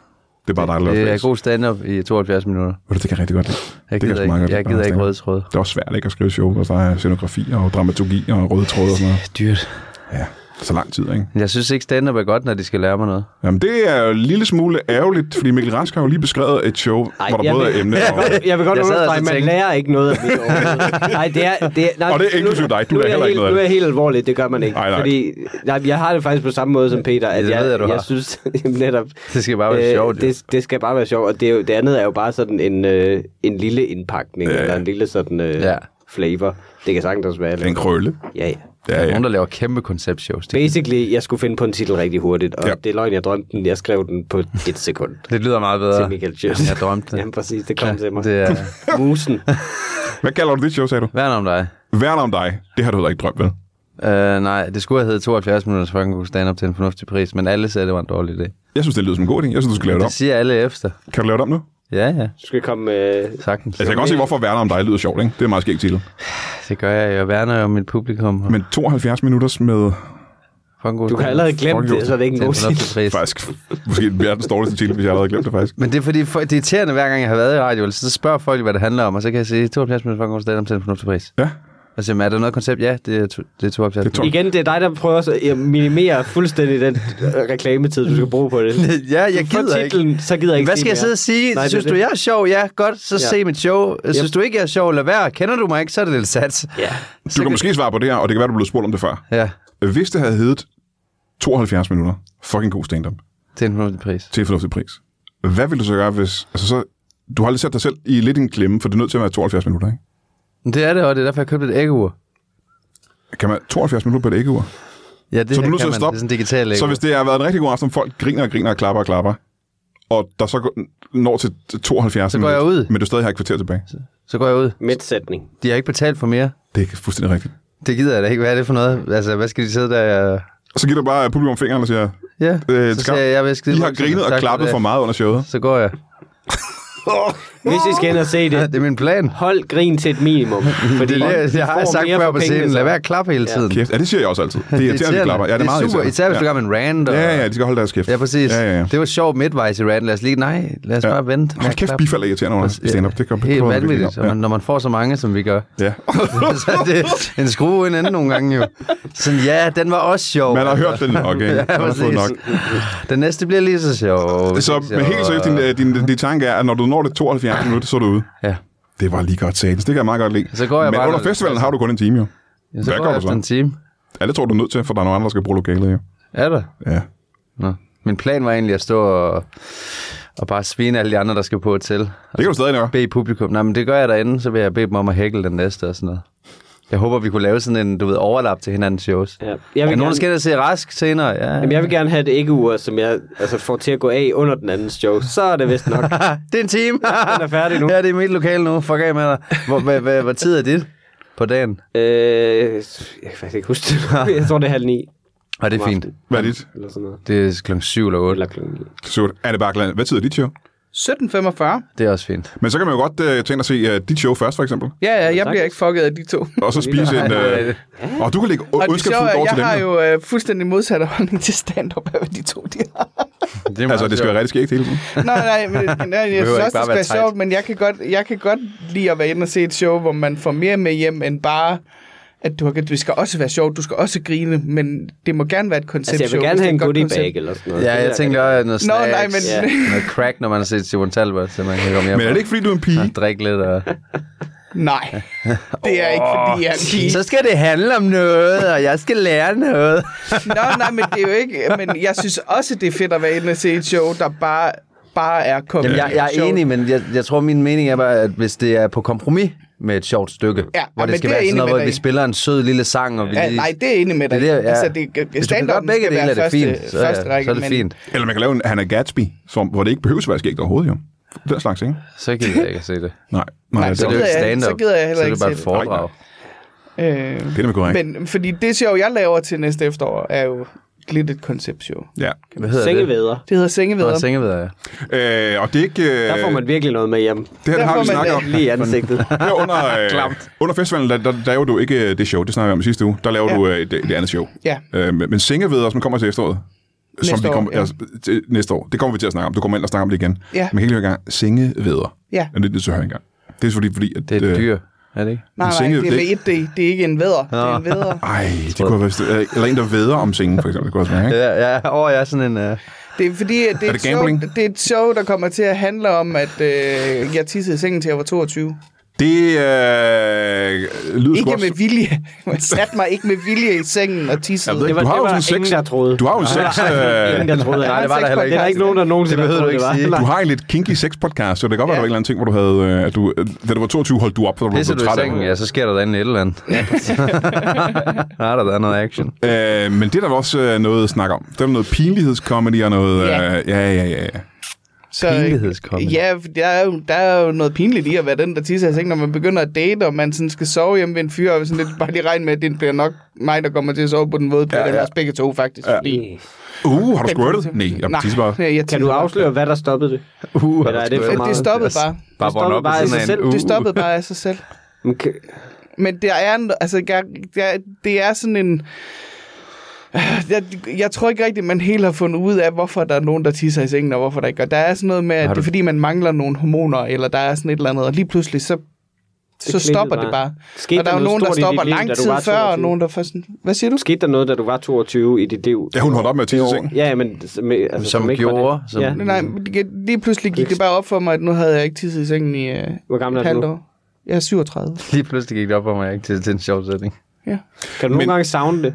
A: Det er bare dig, der laver
B: Det er
A: flex.
B: god stand-up i 72 minutter.
A: Ved du, Det kan jeg rigtig godt lide.
B: Jeg
A: det
B: gider,
A: kan sgu meget godt lide,
B: ikke, jeg
A: bare
B: gider ikke
A: stand-up.
B: røde tråde.
A: Det er også svært ikke at skrive show, og der er scenografi og dramaturgi og røde tråde og sådan noget.
B: Dyrt.
A: Ja, så lang tid, ikke?
B: Jeg synes ikke, stand-up er godt, når de skal lære mig noget.
A: Jamen, det er jo en lille smule ærgerligt, fordi Mikkel Rask har jo lige beskrevet et show, Ej, hvor der
C: jeg
A: både
C: vil-
A: er emne og...
C: Jeg vil godt
B: Jeg sad
C: understrege,
B: altså
C: at
B: og
C: man
B: tænkte-
C: lærer ikke noget af mit overhovedet. Nej, det er... Det, nej,
A: Og det er
C: nu-
A: inklusive dig. Du
C: nu
A: lærer heller
C: jeg
A: ikke
C: helt,
A: noget af
C: Nu
A: det.
C: er jeg helt alvorligt, det gør man ikke.
A: Nej, nej.
C: Fordi nej, jeg har det faktisk på samme måde som Peter, at
B: Det
C: jeg,
B: ved jeg, du
C: jeg,
B: har.
C: synes netop... Øh,
B: Det skal bare være sjovt, jo.
C: Det, det skal bare være sjovt, og det, er jo, det andet er jo bare sådan en, øh, en lille indpakning,
A: Ja.
C: eller en lille sådan øh,
B: Ja.
C: flavor. Det kan sagtens være...
A: En krølle.
C: Ja, ja.
A: Ja,
B: Der er
A: ja.
B: nogen, der laver kæmpe konceptshows. Det,
C: Basically, jeg skulle finde på en titel rigtig hurtigt, og
A: Ja.
C: ja. det er løgn, jeg drømte den. Jeg skrev den på et sekund.
B: det lyder meget
C: Til
B: bedre,
C: Michael
B: end
C: Jørgensen.
B: jeg drømte det.
C: Jamen præcis, det kom ja, til mig.
B: Det er...
C: Musen.
A: Hvad kalder du dit show, sagde du?
B: Hvad er der om dig?
A: Værn om dig. Det har du heller ikke drømt, vel?
B: Uh, nej, det skulle have heddet 72 minutters fucking god stand-up til en fornuftig pris, men alle sagde, at det var en dårlig idé.
A: Jeg synes, det lyder som en god idé. Jeg synes, du skal lave det
B: Det
A: om.
B: siger alle efter.
A: Kan du lave det om nu?
B: Ja, ja,
C: Du skal komme... Øh,
B: sagtens.
A: Altså, jeg kan også se, hvorfor Værn om dig lyder sjovt, ikke? Det er en meget skægt titel.
B: Det gør jeg. Jeg værner jo om mit publikum. Og
A: Men 72 minutters med
B: fucking god
C: du kan
B: stand-up
C: allerede glemme
A: Fuck
C: det, så er det ikke
B: til
C: en god
B: en
C: titel.
B: fornuftig pris.
A: faktisk måske verdens dårligste titel, hvis jeg allerede glemte det faktisk.
B: Men det er fordi, for, det er irriterende, hver gang jeg har været i radio, så spørger folk, hvad det handler om, og så kan jeg sige, 72 minutter for en god stand-up til en fornuftig pris.
A: Ja,
B: Og så siger man, er der noget koncept? Ja, det er, to, det er 72
A: Det er
B: minutter.
C: Igen, det er dig, der prøver så- at øh, minimere fuldstændig den øh, reklametid, du skal bruge på det.
B: Ja, jeg
C: For
B: gider ikke.
C: titlen, så gider jeg ikke
B: Hvad skal jeg sidde og sige?
C: Nej,
B: Nej,
C: det er
B: Synes du,
C: det.
B: jeg er sjov? Ja, godt, så
C: Ja.
B: ja. se mit show. Øh, Synes
C: Yep.
B: du ikke, jeg er sjov? Lad være. Kender du mig ikke, så er det lidt sats.
C: Ja.
A: du kan måske svare på det her, og det kan være, du blev spurgt om det før.
B: Ja,
A: Hvis det havde heddet 72 minutter, fucking god stand-up,
B: til en fornuftig pris.
A: til en fornuftig pris. Hvad vil du så gøre, hvis... Altså så, du har lige sat dig selv i lidt en klemme, for det er nødt til at være 72 minutter, ikke?
B: Men Det er det, og det er derfor, jeg købte et æggeur.
A: Kan man 72 minutter på et æggeur?
B: Ja, det
A: Så
B: her
A: du er nødt
B: kan
A: til at
B: man.
A: stoppe.
B: Det er sådan en digital æggeur.
A: Så hvis det har været en rigtig god aften, folk griner og griner og klapper og klapper, og der så går, når til 72
B: Så går jeg
A: minutter,
B: ud.
A: Men du stadig har et kvarter tilbage.
B: Så går jeg ud.
C: Mætsætning.
B: De har ikke betalt for mere.
A: Det er fuldstændig rigtigt.
B: Det gider jeg da ikke. Hvad er det for noget? Altså, hvad skal de sidde der? øh?
A: Så giver du bare publikum fingeren og siger,
B: Ja,
A: Øh,
B: så
A: skam.
B: siger jeg, jeg vil skide
A: I har
B: bukserne.
A: grinet og
B: Tak
A: klappet
B: det.
A: for meget under showet.
B: Så går jeg.
C: Hvis I skal ind og se det,
B: Det er min plan.
C: hold grin til et minimum. Fordi
B: Det, er det, jeg har
C: får
B: sagt
C: mere
B: før
C: for
B: på
C: pengene,
B: scenen.
C: så-
B: Lad være at klappe hele tiden.
A: Kæft. Ja, det siger jeg også altid. Det er irriterende, at de klapper. Ja, det er, meget
B: super, især hvis du gør med en rant. Og...
A: ja. ja, ja, de skal holde deres kæft.
B: Ja, præcis.
A: Ja, ja, ja.
B: Det var sjovt midtvejs i rant. Lad os lige, nej, lad os
A: Ja.
B: bare vente.
A: Hold kæft, bifald er irriterende under stand-up. Det kan
B: Helt vanvittigt, ja. når man får så mange, som vi gør.
A: Ja.
B: så er det en skrue en anden nogle gange jo. Sådan, ja, den var også sjov.
A: Man har hørt den nok, ikke? Man har fået nok.
B: Den næste bliver lige så sjov.
A: Så
B: Hvis ikke
A: men helt seriøst, din, øh, din, din, din tanke er, at når du når det 72 minutter, så er du ude.
B: Ja.
A: Det var lige godt satans. Det kan jeg meget godt lide.
B: Så går jeg
A: Men
B: bare-
A: under festivalen har du kun en time, jo.
B: Jamen, så
A: Hvad
B: går
A: gør
B: jeg
A: du så?
B: efter en time.
A: Alle tror, du er nødt til, for der er nogle andre, der skal bruge lokalet, jo.
B: Er der?
A: Ja.
B: Nå. Min plan var egentlig at stå og, og bare svine alle de andre, der skal på til.
A: Det kan du stadig gøre.
B: bede publikum. Nej, men det gør jeg derinde, så vil jeg bede dem om at hækle den næste og sådan noget. Jeg håber, vi kunne lave sådan en, du ved, overlap til hinandens shows.
C: Ja.
B: Ja.
C: Jeg vil
B: Jeg vil er nogen,
C: gerne-
B: der skal ind og se Rask senere? Ja.
C: Jamen, jeg vil gerne have et æggeur, som jeg altså, får til at gå af under den andens show. Så er det vist nok.
B: Det er en time.
C: Den er færdig nu.
B: ja, det er mit lokale nu. Fuck af med dig. Hvor, hvad, hvad, hvad tid er dit på dagen?
C: øh, jeg kan faktisk ikke huske det. Jeg tror, det er halv ni.
B: Og det er
C: om
B: fint.
C: aftenen,
A: Hvad er dit?
C: Eller sådan noget.
B: Det er klokken 7 eller 8.
C: Eller klokken ni.
A: Surt. Er det bare glad? Hvad tid er dit show?
D: 17.45.
B: Det er også
C: Altså,
B: fint.
A: Men så kan man jo godt øh, tænke at se øh, dit show først, for eksempel.
D: Ja, ja, jeg bliver ikke fucket af de to.
A: Og så spise en... Øh, og du kan lægge
D: Og det sjove
A: ondskabsfuldt
D: er,
A: over til
D: jeg
A: dem.
D: har
A: jo.
D: jo øh, fuldstændig modsatte holdning til stand-up af, hvad de to de har.
B: Det er
A: Altså, det skal være rigtig skægt hele tiden.
D: Nej, nej, men, nej, nej jeg synes
B: ikke bare
D: også, det skal være
B: være tight.
D: sjovt, men jeg kan, godt, jeg kan godt lide at være inde og se et show, hvor man får mere med hjem end bare at du, har, du skal også være sjovt, du skal også grine, men det må gerne være et koncept
C: Altså, jeg vil gerne have en goodie bag eller sådan noget.
B: Ja, jeg tænker også noget
D: Nå,
B: snacks,
D: nej, men-
B: ja. noget crack, når man har set Simon Talbot, så man kan komme hjem
A: Men er det ikke, fordi du er en pige?
B: og drikke lidt. Og...
D: Nej, det er ikke, fordi jeg er en pige.
B: Så skal det handle om noget, og jeg skal lære noget.
D: Nå, nej, men det er jo ikke... Men jeg synes også, det er fedt at være inde og se et show, der bare bare er kommet.
B: Jamen, jeg, jeg er enig, men jeg, jeg tror, min mening er bare, at hvis det er på kompromis med et sjovt stykke,
D: Ja,
B: hvor
D: men
B: det skal
D: det er
B: være sådan
D: jeg enig
B: noget,
D: med
B: hvor
D: dig
B: vi
D: i.
B: spiller en sød lille sang, og vi
D: Ja,
B: lige...
D: nej, det er jeg enig med dig.
B: Det er det, ja.
D: Altså, det,
B: Hvis du kan gøre
D: standarden
B: begge
D: skal
B: dele,
D: være
B: er det
D: første,
B: fint. Så,
D: første
B: ja,
D: række,
B: så er det
D: men
B: fint.
A: Eller man kan lave en Hannah Gatsby, som, hvor det ikke behøves at være skægt overhovedet, jo. Den slags, ikke?
B: Så gider jeg ikke at se det.
A: Nej, nej,
D: Nej,
A: nej
B: Så
A: det,
B: er
A: det,
B: det
A: det,
B: jo ikke stand-up.
D: gider jeg- så gider jeg heller
B: så er
D: ikke
B: det bare et
D: se det.
B: foredrag.
D: Øh,
A: det er nemlig korrekt.
D: men fordi det show, jeg laver til næste efterår, er jo lidt et konceptshow.
A: Ja.
B: Hvad hedder det?
C: Sengevæder.
D: Det hedder
B: Nå,
D: Sengevedder.
B: Sengevæder, ja.
A: Øh, og det er ikke... Øh,
C: Der får man virkelig noget med hjem.
A: Det her
D: Der
A: det har
D: får
A: vi
D: man
A: snakket om.
C: Lige i ansigtet.
A: Her under, øh,
B: Klamt.
A: under festivalen, der, der, der laver du ikke øh, det show, det snakker vi om sidste uge. Der laver ja. du øh, et, et andet show.
D: Ja.
A: Øh, men men Singeveder, som kommer til efteråret. som vi
D: år,
A: kommer,
D: ja.
A: altså, til, næste år. Det kommer vi til at snakke om. Du kommer ind og snakker om det igen.
D: Ja.
A: Men helt i gang. Singeveder.
D: Ja.
A: Er det det, du hører engang? Det er selvfølgelig fordi, at... øh,
B: Det er et dyr, er det ikke?
D: Nej, nej,
A: Senge-
D: det er med et D. Det er ikke en vædder. Det er en vædder.
A: Ej, det kunne have været... øh, Eller en, der veder om sengen, for eksempel. Det kunne også være, ikke?
B: Ja, ja, åh, jeg er sådan en... Uh...
D: Det er fordi, at det er,
A: Er
D: et
A: det
D: show,
A: gambling?
D: det er et show, der kommer til at handle om, at øh, jeg tissede i sengen til jeg var 22.
A: Det øh, lyder sgu
D: Ikke
A: også...
D: med vilje. Man satte mig ikke med vilje i sengen og tissede.
A: Jeg ved
C: Det
A: ikke,
C: var,
A: du har
C: det
A: jo
C: var
A: sådan
C: ingen,
A: seks...
C: der troede.
A: Du har jo en seks...
C: Ingen,
A: øh,
C: der troede.
B: Nej, det var der heller ikke.
C: Der er ikke nogen, der nogensinde
B: Det behøver
C: har
B: du
C: troet,
B: ikke
C: det var.
B: sige.
C: Nej.
A: Du har en lidt kinky sex-podcast, så det kan godt være,
D: Ja.
A: der var en eller anden ting, hvor du havde... øh, at du, øh, da du var 22, holdt du op, for du
B: Pisser
A: blev
B: du i
A: træt af
B: sengen,
A: det.
B: ja, så sker der da en eller andet. Har der da noget action?
A: Øh, men det er der vel også øh, noget at snakke om. Der er noget pinlighedscomedy og noget...
D: Ja.
A: Øh, ja, ja, ja. ja.
D: Så, øh,
B: Pinlighedskomedy.
D: Ja, for der er, jo, der er jo noget pinligt i at være den, der tisser i sengen, når man begynder at date, og man sådan skal sove hjemme ved en fyr, og sådan lidt bare lige regne med, at det bliver nok mig, der kommer til at sove på den våde
A: Ja,
D: plade,
A: ja.
D: ja, ja. begge to faktisk. Ja. Fordi,
A: Uh, har du squirtet? Nej, jeg tisser bare.
D: Nej, jeg
C: Kan du
D: tisser bare.
C: afsløre, hvad der stoppede det?
B: Uh,
C: Eller er det for
D: Det, det stoppede bare.
B: Bare
C: Det
B: vågne
C: stopper
B: op ved
C: bare i
B: siden
C: sig
B: af en
C: selv.
B: uge.
D: Det stoppede bare af sig selv.
C: Men kan-
D: Men der er, en- altså, jeg, jeg, det er sådan en... Jeg, jeg tror ikke rigtigt, man helt har fundet ud af, hvorfor der er nogen, der tisser i sengen, og hvorfor der ikke gør. Der er sådan noget med, at
B: Har
D: det er
B: du-
D: fordi, man mangler nogle hormoner, eller der er sådan et eller andet, og lige pludselig, så, så
C: klikkede
D: stopper det
C: bare.
D: bare.
C: Skete
D: og der
C: der
D: er jo
C: noget
D: nogen,
C: stort i
D: der
C: dit
D: stopper
C: liv, da
D: lang
C: du
D: tid
C: var
D: før, og
C: 22?
D: nogen, der først... Hvad siger du?
C: Skete der noget, da du var 22 i dit liv?
A: Ja, hun holdt op med at tisse i sengen.
C: Ja, men... s- Med, altså,
B: Som
C: ikke var det.
B: gjorde, som-
C: Ja.
D: Nej, nej, men det- lige pludselig gik det bare op for mig, at nu havde jeg ikke tisset i sengen i øh,
C: Hvor gammel er
D: et
C: du
D: halvt
C: nu?
D: år. Jeg er 37.
B: Lige pludselig gik det op for mig, ikke? Til, til en sjov sætning.
D: Ja.
C: Kan du nogle gange savne det?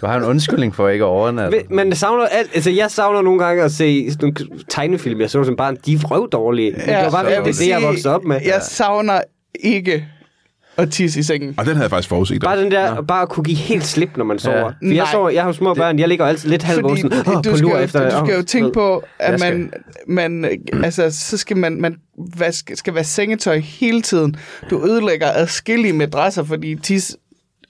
B: Du har en undskyldning for ikke at overnatte.
C: Ved- Man savner alt. Altså, jeg savner nogle gange at se sådan nogle tegnefilm, jeg så som barn. De er røvdårlige. Ja, det var bare
B: så
C: det,
B: vil
C: det, jeg voksede op med.
D: Jeg savner ikke at tisse i sengen.
A: Og den havde jeg faktisk forudset.
C: Bare den der, bare at kunne give helt slip, når man sover. Ja. For jeg,
D: Nej.
C: sover, jeg har jo små børn, jeg ligger altid lidt halvvågen, sådan,
D: Fordi
C: oh,
D: du
C: på
D: skal,
C: lur
D: jo,
C: efter.
D: du skal
C: åh,
D: jo tænke
C: ved.
D: på,
B: Jeg
D: at
B: skal.
D: man, man, altså, så skal man, man vaske, skal være sengetøj hele tiden. Du ødelægger adskillige madrasser, fordi tis...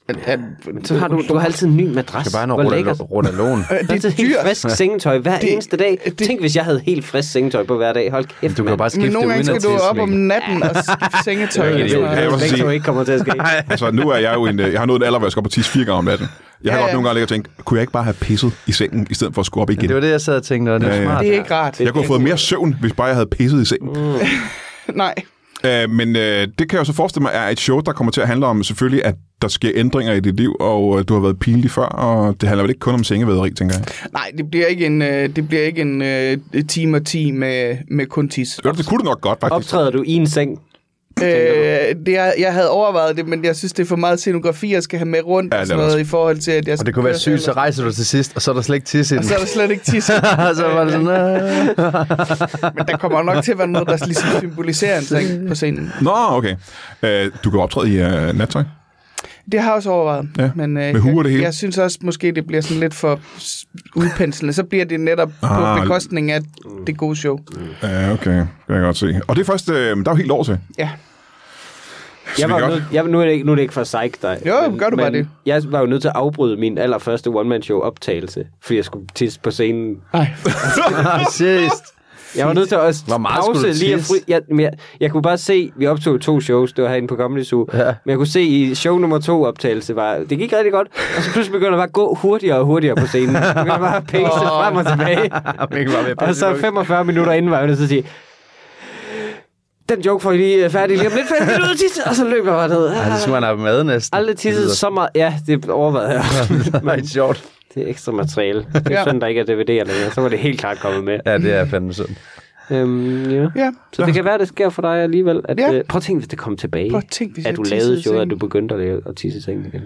D: At, at,
C: Så har du, du har altid en ny madras.
B: Det er bare
C: Hvor lækkert.
B: noget rundalon.
D: Øh, det er
C: Det er helt
D: dyrt.
C: frisk sengetøj hver det,
D: Det-
C: eneste dag. Det,
D: det-
C: Tænk, hvis jeg havde helt frisk sengetøj på hver dag. Hold kæft,
B: Du kan jo
C: mand.
B: bare
D: Men
B: skifte
D: nogle gange
B: uden
D: skal
B: at
D: du op om
B: tilsvinge.
D: natten og skifte sengetøj.
B: Det er
D: og
B: ikke
D: sådan
A: en idé.
D: noget.
A: Jeg vil
C: Det
A: sige-
C: er ikke kommer til at ske.
A: Altså, nu er jeg jo en... øh, Jeg har nået en alder, hvor jeg skal op og tisse fire gange om natten. Jeg har
D: Ja,
A: godt
D: ja.
A: nogle gange ligget og tænkt, kunne jeg ikke bare have pisset i sengen, i stedet for at skulle op igen?
B: Det var det, jeg sad og tænkte, og det
A: Ja,
B: er
A: ja.
B: smart.
D: Det er Mm. ikke rart.
A: Jeg kunne have fået mere søvn, hvis bare jeg havde pisset i sengen.
D: Nej.
A: Øh, men øh, det kan jeg jo så forestille mig er et show, der kommer til at handle om selvfølgelig, at der sker ændringer i dit liv, og øh, du har været pinlig før, og det handler vel ikke kun om sengevæderi, tænker jeg.
D: Nej, det bliver ikke en, øh, det bliver ikke en øh, time og ti med, med kun tis.
A: Det, det kunne du nok godt, faktisk.
C: Optræder du i en seng?
D: Øh, det, jeg, jeg havde overvejet det, men jeg synes, det er for meget scenografi, jeg skal have med rundt
A: Ja,
D: ja, og
A: det er
D: sådan noget i forhold til, at jeg...
B: Og det kunne være sygt, så rejser du til sidst, og så er der slet ikke tisse i den.
D: Så er der slet ikke tisse. Øh,
B: så var det sådan, "Ah."
D: Men der kommer nok til at være noget, der ligesom symboliserer en seng på scenen.
A: Nå, okay. Øh, du kan optræde i øh, nattøj.
D: Det har jeg også overvejet.
A: Ja,
D: Men, øh,
A: med hue og det hele.
D: Jeg, jeg synes også, måske det bliver sådan lidt for s- udpenslende. Så bliver det netop
A: Ah.
D: på bekostning af det gode show.
A: Ja, Øh, okay. Det kan jeg godt se. Og det er først, øh, der er jo helt år til.
D: Ja.
A: Så
C: Jeg
A: vi
C: var
A: kan
C: jo
A: godt-
C: nødt, jeg, nu, er det ikke, nu er det ikke for at psych dig.
D: Jo, gør du bare det.
C: Jeg var jo nødt til at afbryde min allerførste one-man-show optagelse, fordi jeg skulle tisse på scenen.
D: Ej.
B: Præcis.
C: Jeg var nødt til at
B: Hvor meget
C: pause
B: skulle du
C: lige at
B: tisse?
C: fri... Jeg, men jeg, jeg kunne bare se, vi optog to shows, det var herinde på Comedy Zoo, ja. men jeg kunne se i show nummer to optagelse, var, det gik rigtig godt, og så pludselig begyndte jeg bare at gå hurtigere og hurtigere på scenen. Jeg begyndte bare at pace frem og tilbage.
B: Mikkel var ved at
C: og
B: pisse i
C: så
B: bukserne.
C: 45 minutter inden var jeg nødt til at sige, den joke får I lige øh, færdig lige om lidt, for jeg skal ud og tisse." og så løber jeg bare ned.
B: Ej, det skulle man have mad næsten.
C: Aldrig tisset så meget. Ja, det overvejede jeg.
B: Det er sjovt.
C: Det er ekstra materiale. Det er
D: Ja.
C: sådan, der ikke er DVD'er længere. Så var det helt klart kommet med.
B: Ja, det er fandme sundt.
C: Øhm, ja.
D: Ja.
C: Så det kan være, det sker for dig alligevel. At,
D: Ja.
C: ja. øh, prøv at tænke, hvis det kom tilbage.
D: Prøv at tænke, hvis
C: at
D: jeg
C: du
D: tissede i
C: lavede showet, at
D: sengen.
C: du begyndte at, lave, at tisse i sengen igen.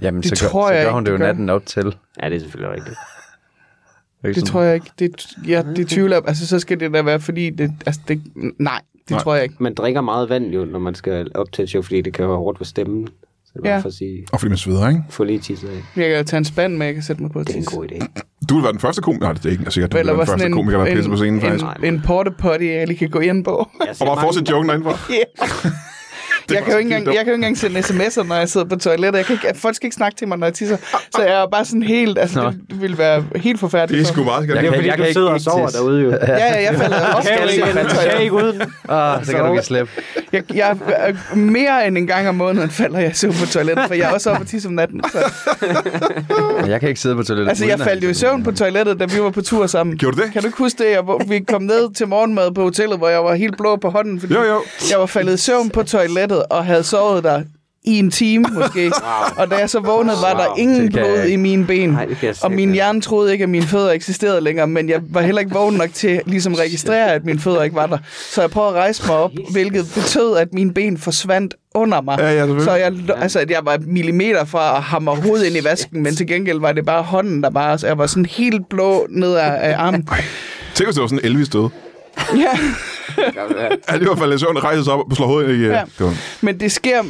B: Jamen,
D: Det
B: så, gør,
D: tror
B: så
D: jeg
B: gør
D: ikke,
B: hun det jo
D: du gør.
B: natten op til.
C: Ja, det er selvfølgelig rigtigt.
B: Ikke
D: Det
B: sådan-
D: tror jeg ikke. Det, ja, det tvivler jeg. Altså, så skal det da være, fordi det... Altså, det nej, det
A: Nej.
D: nej. tror jeg ikke.
C: Man drikker meget vand jo, når man skal op til et show, fordi det kan være hårdt for stemmen. Så det er bare
D: Ja.
C: for at sige,
A: Og fordi man sveder, ikke?
C: få lige tisset af.
D: Jeg kan jo tage en spand med, jeg kan sætte mig på at
C: Det er en
D: tisse.
C: god idé.
A: Du vil være den første komiker. Nej, det er ikke sikkert. Du vil være den første komiker, der pisser på scenen,
D: en,
A: faktisk.
D: en, en porta potty, jeg lige kan gå ind på.
C: Jeg ser
A: Og bare
C: mange-
A: fortsætte joken derindefra.
D: Jeg kan, jo ikke
A: faktisk
D: engang, jeg kan jo ikke engang sende sms'er, når jeg sidder på toilettet. Jeg kan ikke, folk skal ikke snakke til mig, når jeg tisser. Så jeg er bare sådan helt... Altså,
B: Nå.
D: det ville være helt
A: Det
D: forfærdeligt.
A: er
D: for
A: sgu
D: mig.
A: meget skært.
B: Jeg
C: Det er
B: kan-
C: fordi,
B: jeg
C: du
B: kan
C: sidder og
B: ikke
C: sover
B: tisse.
C: derude jo.
D: Ja, ja, jeg falder også
C: Kan
D: galt
C: ikke,
D: ind i
C: man
D: toilettet.
C: kan ikke uden.
B: Ah, så kan du
D: Så-
B: ikke slippe.
D: Jeg, jeg, øh, mere end en gang om måneden falder jeg søvn på toilettet, for jeg er også oppe og tisse om natten. Så.
B: Men Jeg kan ikke sidde på toilettet.
D: Altså, jeg
B: uden at-
D: faldt jo i søvn på toilettet, da vi var på tur sammen.
A: Gjorde du det?
D: Kan du ikke huske det? Jeg, hvor vi kom ned til morgenmad på hotellet, hvor jeg var helt blå på hånden, fordi
A: Jo, jo.
D: jeg var faldet i søvn på toilettet og havde sovet der i en time måske. Wow. Og da jeg så vågnede, var der
C: Wow.
D: ingen
B: Det kan jeg
D: blod
B: ikke.
D: i mine ben.
C: Nej, det kan jeg
D: og
C: slet
D: min
C: ikke.
D: hjerne troede ikke, at mine fødder eksisterede længere, men jeg var heller ikke vågen nok til ligesom at registrere, at mine fødder ikke var der. Så jeg prøvede at rejse mig op, hvilket betød, at mine ben forsvandt under mig.
A: Ja, ja, selvfølgelig.
D: så jeg, lå- altså, at jeg var millimeter fra at hamre hovedet ind i vasken, men til gengæld var det bare hånden, der bare... Så jeg var sådan helt blå ned af, af armen.
A: Tænk, hvis det var sådan Elvis døde.
D: Ja,
A: Han i hvert fald i søvn rejser sig op og slår hovedet ind i... øh, Ja.
D: Ja. men det sker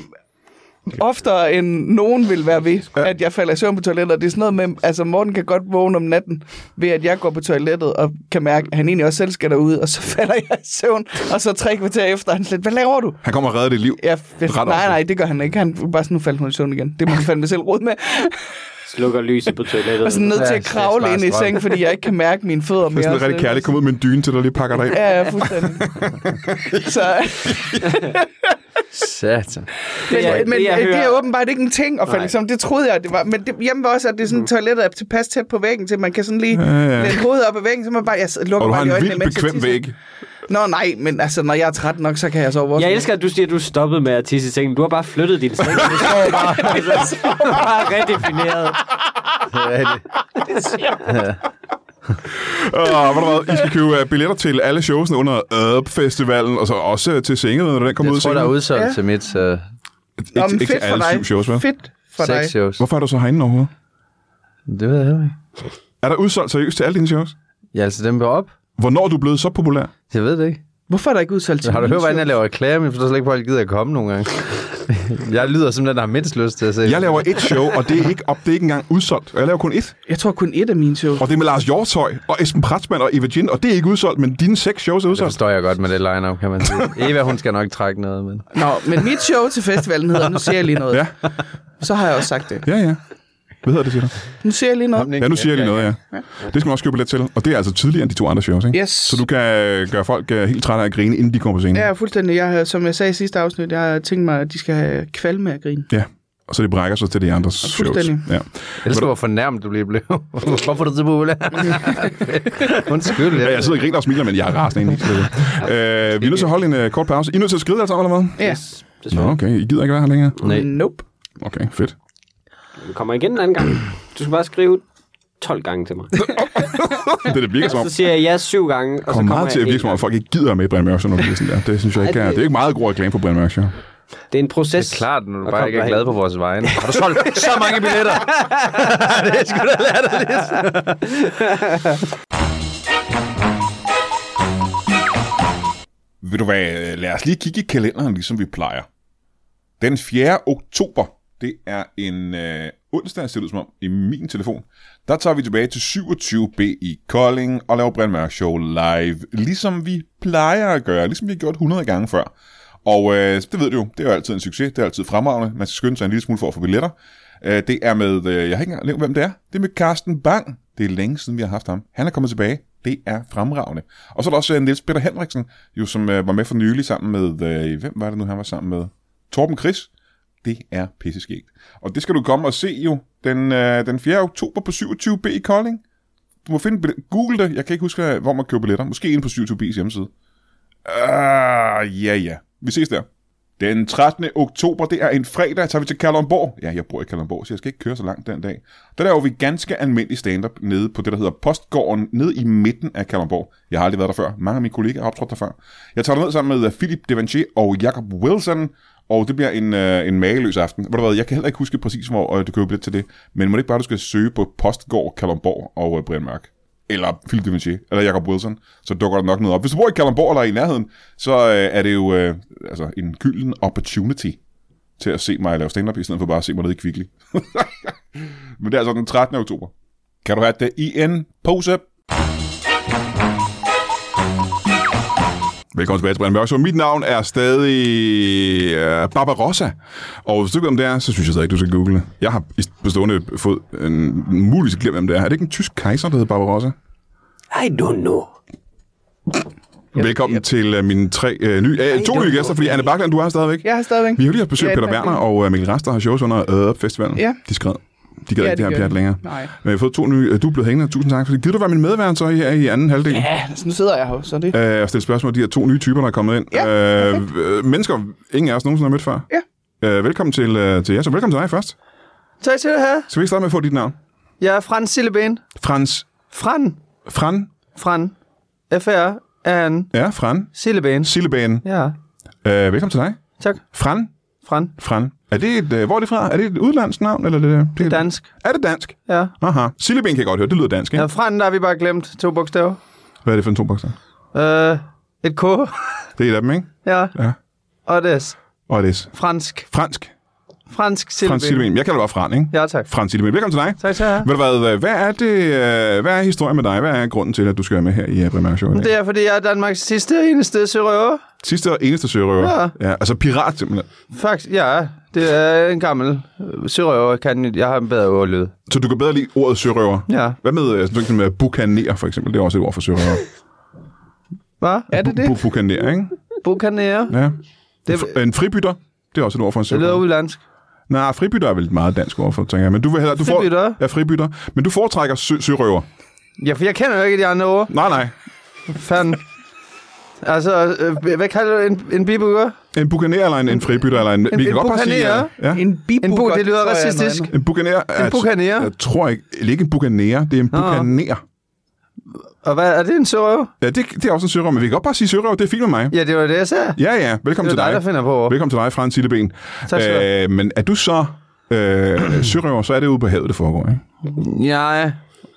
D: oftere end nogen vil være ved, at jeg falder i søvn på toilettet. Det er sådan noget med, altså Morten kan godt vågne om natten ved, at jeg går på toilettet og kan mærke, at han egentlig også selv skal derud, og så falder jeg i søvn, og så tre kvarter efter, er han slet, hvad laver du?
A: Han kommer og redder dit liv.
D: Ja,
A: Ret
D: nej,
A: ofte.
D: nej, det gør han ikke. Han bare sådan, nu faldt hun i søvn igen. Det må han fandme selv råd med.
C: Slukker lyset på toilettet.
D: Jeg er sådan nødt til
B: Ja,
D: at kravle
B: det er
D: ind i
B: smart.
D: sengen, fordi jeg ikke kan mærke mine fødder
A: Det er
D: mere.
A: sådan rigtig kærligt. Kom ud med en dyne til, der lige pakker dig ind.
D: Ja, ja, fuldstændig. Så,
B: Satan.
D: men,
C: jeg-
D: men, men
C: det,
D: det,
C: jeg
D: er
C: hører-
D: åbenbart ikke en ting at falde
C: Nej.
D: som Det troede jeg, det var. Men det, hjemme var også, at det er sådan, toilettet er tilpas tæt på væggen, til man kan sådan lige
A: Mhm. ja.
D: lægge hovedet op ad væggen, så man bare, jeg s-
A: Og
D: lukker
A: du har
D: bare lige
A: en
D: øjnene,
A: vildt
D: mens jeg
A: bekvem
D: tisser.
A: væg.
D: Nå nej, men altså, når jeg er træt nok, så kan jeg sove også.
C: Jeg elsker, at du siger, at du stoppede med at tisse i sengen. Du har bare flyttet din seng. Du står bare, altså, bare redefineret.
B: Det er rigtigt.
A: Og ved du hvad, I skal købe øh, billetter til alle showsene under Up-festivalen, og så også øh, til sengemødet, når den kommer ud
B: Jeg tror, der er udsolgt
D: Ja.
B: til mit øh,
A: Ikke,
D: Nå, men
A: ikke til
D: fedt for
A: alle
D: dig.
A: syv shows, vel?
D: Fedt for dig.
B: seks shows.
A: Hvorfor er du så herinde overhovedet?
B: Det ved jeg heller ikke.
A: Er der udsolgt seriøst til alle dine shows?
B: Ja, altså, dem var op.
A: Hvornår er du blevet så populær?
B: Jeg ved det ikke.
D: Hvorfor er der ikke udsolgt til
B: Har du hørt,
D: min
B: hvordan jeg laver reklame? Jeg forstår slet ikke, hvor jeg gider at komme nogle gange. jeg lyder som den, der har mindst lyst til at se.
A: Jeg laver et show, og det er ikke, op, det er ikke engang udsolgt. Og jeg laver kun et.
D: show? Jeg tror kun et af mine shows.
A: Og det er med Lars Hjortøj og Esben Pratsmann og Eva Jean, og det er ikke udsolgt, men dine seks shows er
B: det
A: udsolgt.
B: forstår jeg godt med det line-up, kan man sige. Eva, hun skal nok trække noget, men...
D: Nå, men mit show til festivalen hedder, nu siger jeg lige noget.
A: Ja.
D: Så har jeg også sagt det.
A: Ja, ja. Hvad hedder det, siger du?
D: Nu siger jeg lige noget.
A: Ja, nu siger jeg lige noget, ja. Det skal man også købe billet til, og det er altså tidligere end de to andre shows, ikke?
D: Yes.
A: Så du kan øh, gøre folk øh, helt trætte af at grine, inden de kommer på scenen.
D: Ja, fuldstændig. Jeg, har- som jeg sagde i sidste afsnit, jeg har tænkt mig, at de skal have kvalme af grin.
A: Ja, og så de brækker sig til de andre shows.
D: fuldstændig.
A: Ja.
B: Jeg elsker, hvor fornærmet du bliver blevet. Hvorfor er du så populær? Undskyld,
A: ja,
B: jeg,
A: jeg sidder og griner og smiler, men jeg er rasende egentlig. øh, vi er nødt til at holde en øh, kort pause. I er nødt til at skride alle sammen, eller hvad?
D: Ja.
A: Nå, okay. I gider ikke være her længere.
B: Nej.
D: Nope.
A: Okay, fedt.
C: Du kommer igen en anden gang. Du skal bare skrive 12 gange til mig.
A: Det, er det virker som om,
C: Så siger jeg ja syv gange, og så
A: kommer
C: kommer
A: meget til at
C: jeg
A: virke
C: en
A: som om,
C: gang.
A: folk ikke gider med i Brian Mørk, sådan noget, sådan der. Det synes jeg ikke er... Det er ikke meget god reklame for Brian Mørk, Show.
C: Det er en proces.
B: Det er klart, når du
C: Og
B: bare
C: kom
B: ikke er
C: derhen.
B: glad på vores vegne. Har du solgt så mange billetter? det er sgu da latterligt.
A: Ved du hvad, lad os lige kigge i kalenderen, ligesom vi plejer. Den 4. oktober, det er en øh, onsdag, ser det ud som om, i min telefon. Der tager vi tilbage til 27B i Kolding og laver Brian Mørk Show live, ligesom vi plejer at gøre, ligesom vi har gjort 100 gange før. Og øh, det ved du jo, det er jo altid en succes, det er altid fremragende, man skal skynde sig en lille smule for at få billetter. Øh, det er med, øh, jeg har ikke engang nævnt, hvem det er, det er med Carsten Bang. Det er længe siden, vi har haft ham. Han er kommet tilbage, det er fremragende. Og så er der også øh, Niels Peter Henriksen, jo, som øh, var med for nylig sammen med, øh, hvem var det nu, han var sammen med? Torben Chris. Det er pisseskægt. Og det skal du komme og se jo den, øh, den 4. oktober på 27B i Kolding. Du må finde billet- Google det. Jeg kan ikke huske, hvor man køber billetter. Måske inde på 27B's hjemmeside. Ah, ja, ja. Vi ses der. Den 13. oktober, det er en fredag, tager vi til Kalundborg. Ja, jeg bor i Kalundborg, så jeg skal ikke køre så langt den dag. Der laver vi ganske almindelig stand-up nede på det, der hedder Postgården, nede i midten af Kalundborg. Jeg har aldrig været der før. Mange af mine kollegaer har optrådt der før. Jeg tager ned sammen med øh, Philip Devanché og Jacob Wilson, og det bliver en, øh, en mageløs aften. Ved du hvad, jeg kan heller ikke huske præcis, hvor øh, du køber billet til det, men må det ikke bare, du skal søge på Postgård Kalundborg og øh, Brian Mørk. eller Philip de Vinci, eller Jacob Wilson, så dukker der nok noget op. Hvis du bor i Kalamborg eller i nærheden, så øh, er det jo øh, altså, en gylden opportunity til at se mig lave stand-up, i stedet for bare at se mig nede i Kvickly. Men det er altså den 13. oktober. Kan du have det i en pose? Velkommen tilbage til Brian Mørk. Så mit navn er stadig øh, Barbarossa. Og hvis du ikke ved, hvem det er, så synes jeg stadig ikke, du skal google det. Jeg har i bestående fod en muligvis glemt, hvem det er. Er det ikke en tysk kejser, der hedder Barbarossa?
C: I don't know.
A: Yep, Velkommen yep. til øh, mine tre øh, nye, øh, to nye gæster, fordi Anne Bakland, du er her stadigvæk.
D: Jeg har stadigvæk.
A: Vi har jo lige haft besøg af
D: Ja,
A: Peter
D: det er
A: Werner og øh, Mikkel Raster har shows under øh, festivalen.
D: Ja.
A: De skred. De gad
D: Ja,
A: ikke det her
D: det gjorde
A: pjat
D: de.
A: længere.
D: Nej.
A: Men jeg har fået to nye. øh, Du er blevet hængende. Tusind tak. Fordi gider du være min medvært så her i anden halvdel?
D: Ja, altså, nu sidder jeg her, så det...
A: øh, og stille spørgsmål om de her to nye typer, der er kommet ind.
D: Ja,
A: øh, øh, mennesker, ingen af os nogensinde har mødt før.
D: Ja.
A: Øh, velkommen til, øh, til jer, så velkommen til dig først.
B: Tak skal du have.
A: Skal vi ikke starte med at få dit navn?
B: Jeg er Frans Silleben.
A: Frans.
B: Fran.
A: Fran.
B: Fran. FR er en
A: Ja, Fran.
B: Silleben.
A: Sillebane.
B: Ja,
A: Øh, velkommen til dig.
B: tak.
A: Fran.
B: Fran.
A: Fran. Er det et, øh, hvor er det fra? Er det et udlandsk navn? Eller er det, det, det
B: Dansk.
A: Er det dansk?
B: Ja.
A: Aha. Sillebane kan jeg godt høre. Det lyder dansk, ikke?
B: ja Fran, Øh, der har vi bare glemt to bogstaver.
A: Hvad er det for en to bogstaver?
B: Øh, et
A: Det
B: K.
A: er et af dem, ikke?
B: ja.
A: Ja.
B: Og det er
A: Og det er
B: fransk.
A: fransk.
B: Fransk
A: Frans
B: Silleben.
A: Sillebane. Jeg kalder dig bare Fran, ikke?
B: Ja, tak.
A: Frans Sillebane. Velkommen til dig.
B: Tak skal du have.
A: Ved du hvad, øh, hvad er det, øh, hvad er historien med dig? Hvad er grunden til, at du skal være med her i Primær Show i dag?
B: Det er, fordi jeg er Danmarks sidste og eneste sørøver.
A: Sidste og eneste sørøver. Ja. ja. altså pirat simpelthen.
B: Faktisk, ja. Det er en gammel øh, sørøver. Kan, jeg har en bedre ordlyd.
A: Så du kan bedre lide ordet sørøver.
B: Ja.
A: Hvad med, øh, sådan noget som, øh, bukaner for eksempel? Det er også et ord for sørøver.
B: Hvad?
D: Er det det?
A: Bu- bukaner, ikke?
B: Bukanere.
A: Ja.
B: Det,
A: F- En fribytter. Det er også et ord for en
B: det lyder
A: sørøver.
B: udlandsk.
A: Nej, fribytter er vel et meget dansk ord for, tænker jeg. Men du vil hellere, du får,
B: Fribytter?
A: ja, fribytter. Men du foretrækker sø- sørøver.
B: Ja, for jeg kender jo ikke de andre ord.
A: Nej, nej.
B: Fanden. Altså, øh, hvad kalder du en, en bibukker?
A: En bukaner eller en, en fribytter eller en... vi
B: en
A: kan godt bare sige...
B: bukaner?
A: ja. Ja.
D: En bibu.
B: En bu,
D: godt,
B: det lyder
D: tror jeg, er noget
B: racistisk.
D: andet.
A: En bukaner. En
B: bukaner?
A: Jeg, jeg tror ikke... Eller ikke en bukaner. Det er en bukaner.
B: Og hvad, er det en sørøver?
A: Ja, det, det er også en sørøver, men vi kan godt bare sige sørøver. Det er fint med mig.
B: Ja, det var det, jeg sagde.
A: Ja, ja. Velkommen
B: Det
A: til
B: er dig,
A: dig.
B: der finder på ord.
A: Velkommen til dig, Frans Silleben.
B: skal du have.
A: Øh, men er du så øh, sørøver, så er det ude på havet, det foregår, ikke?
B: Ja,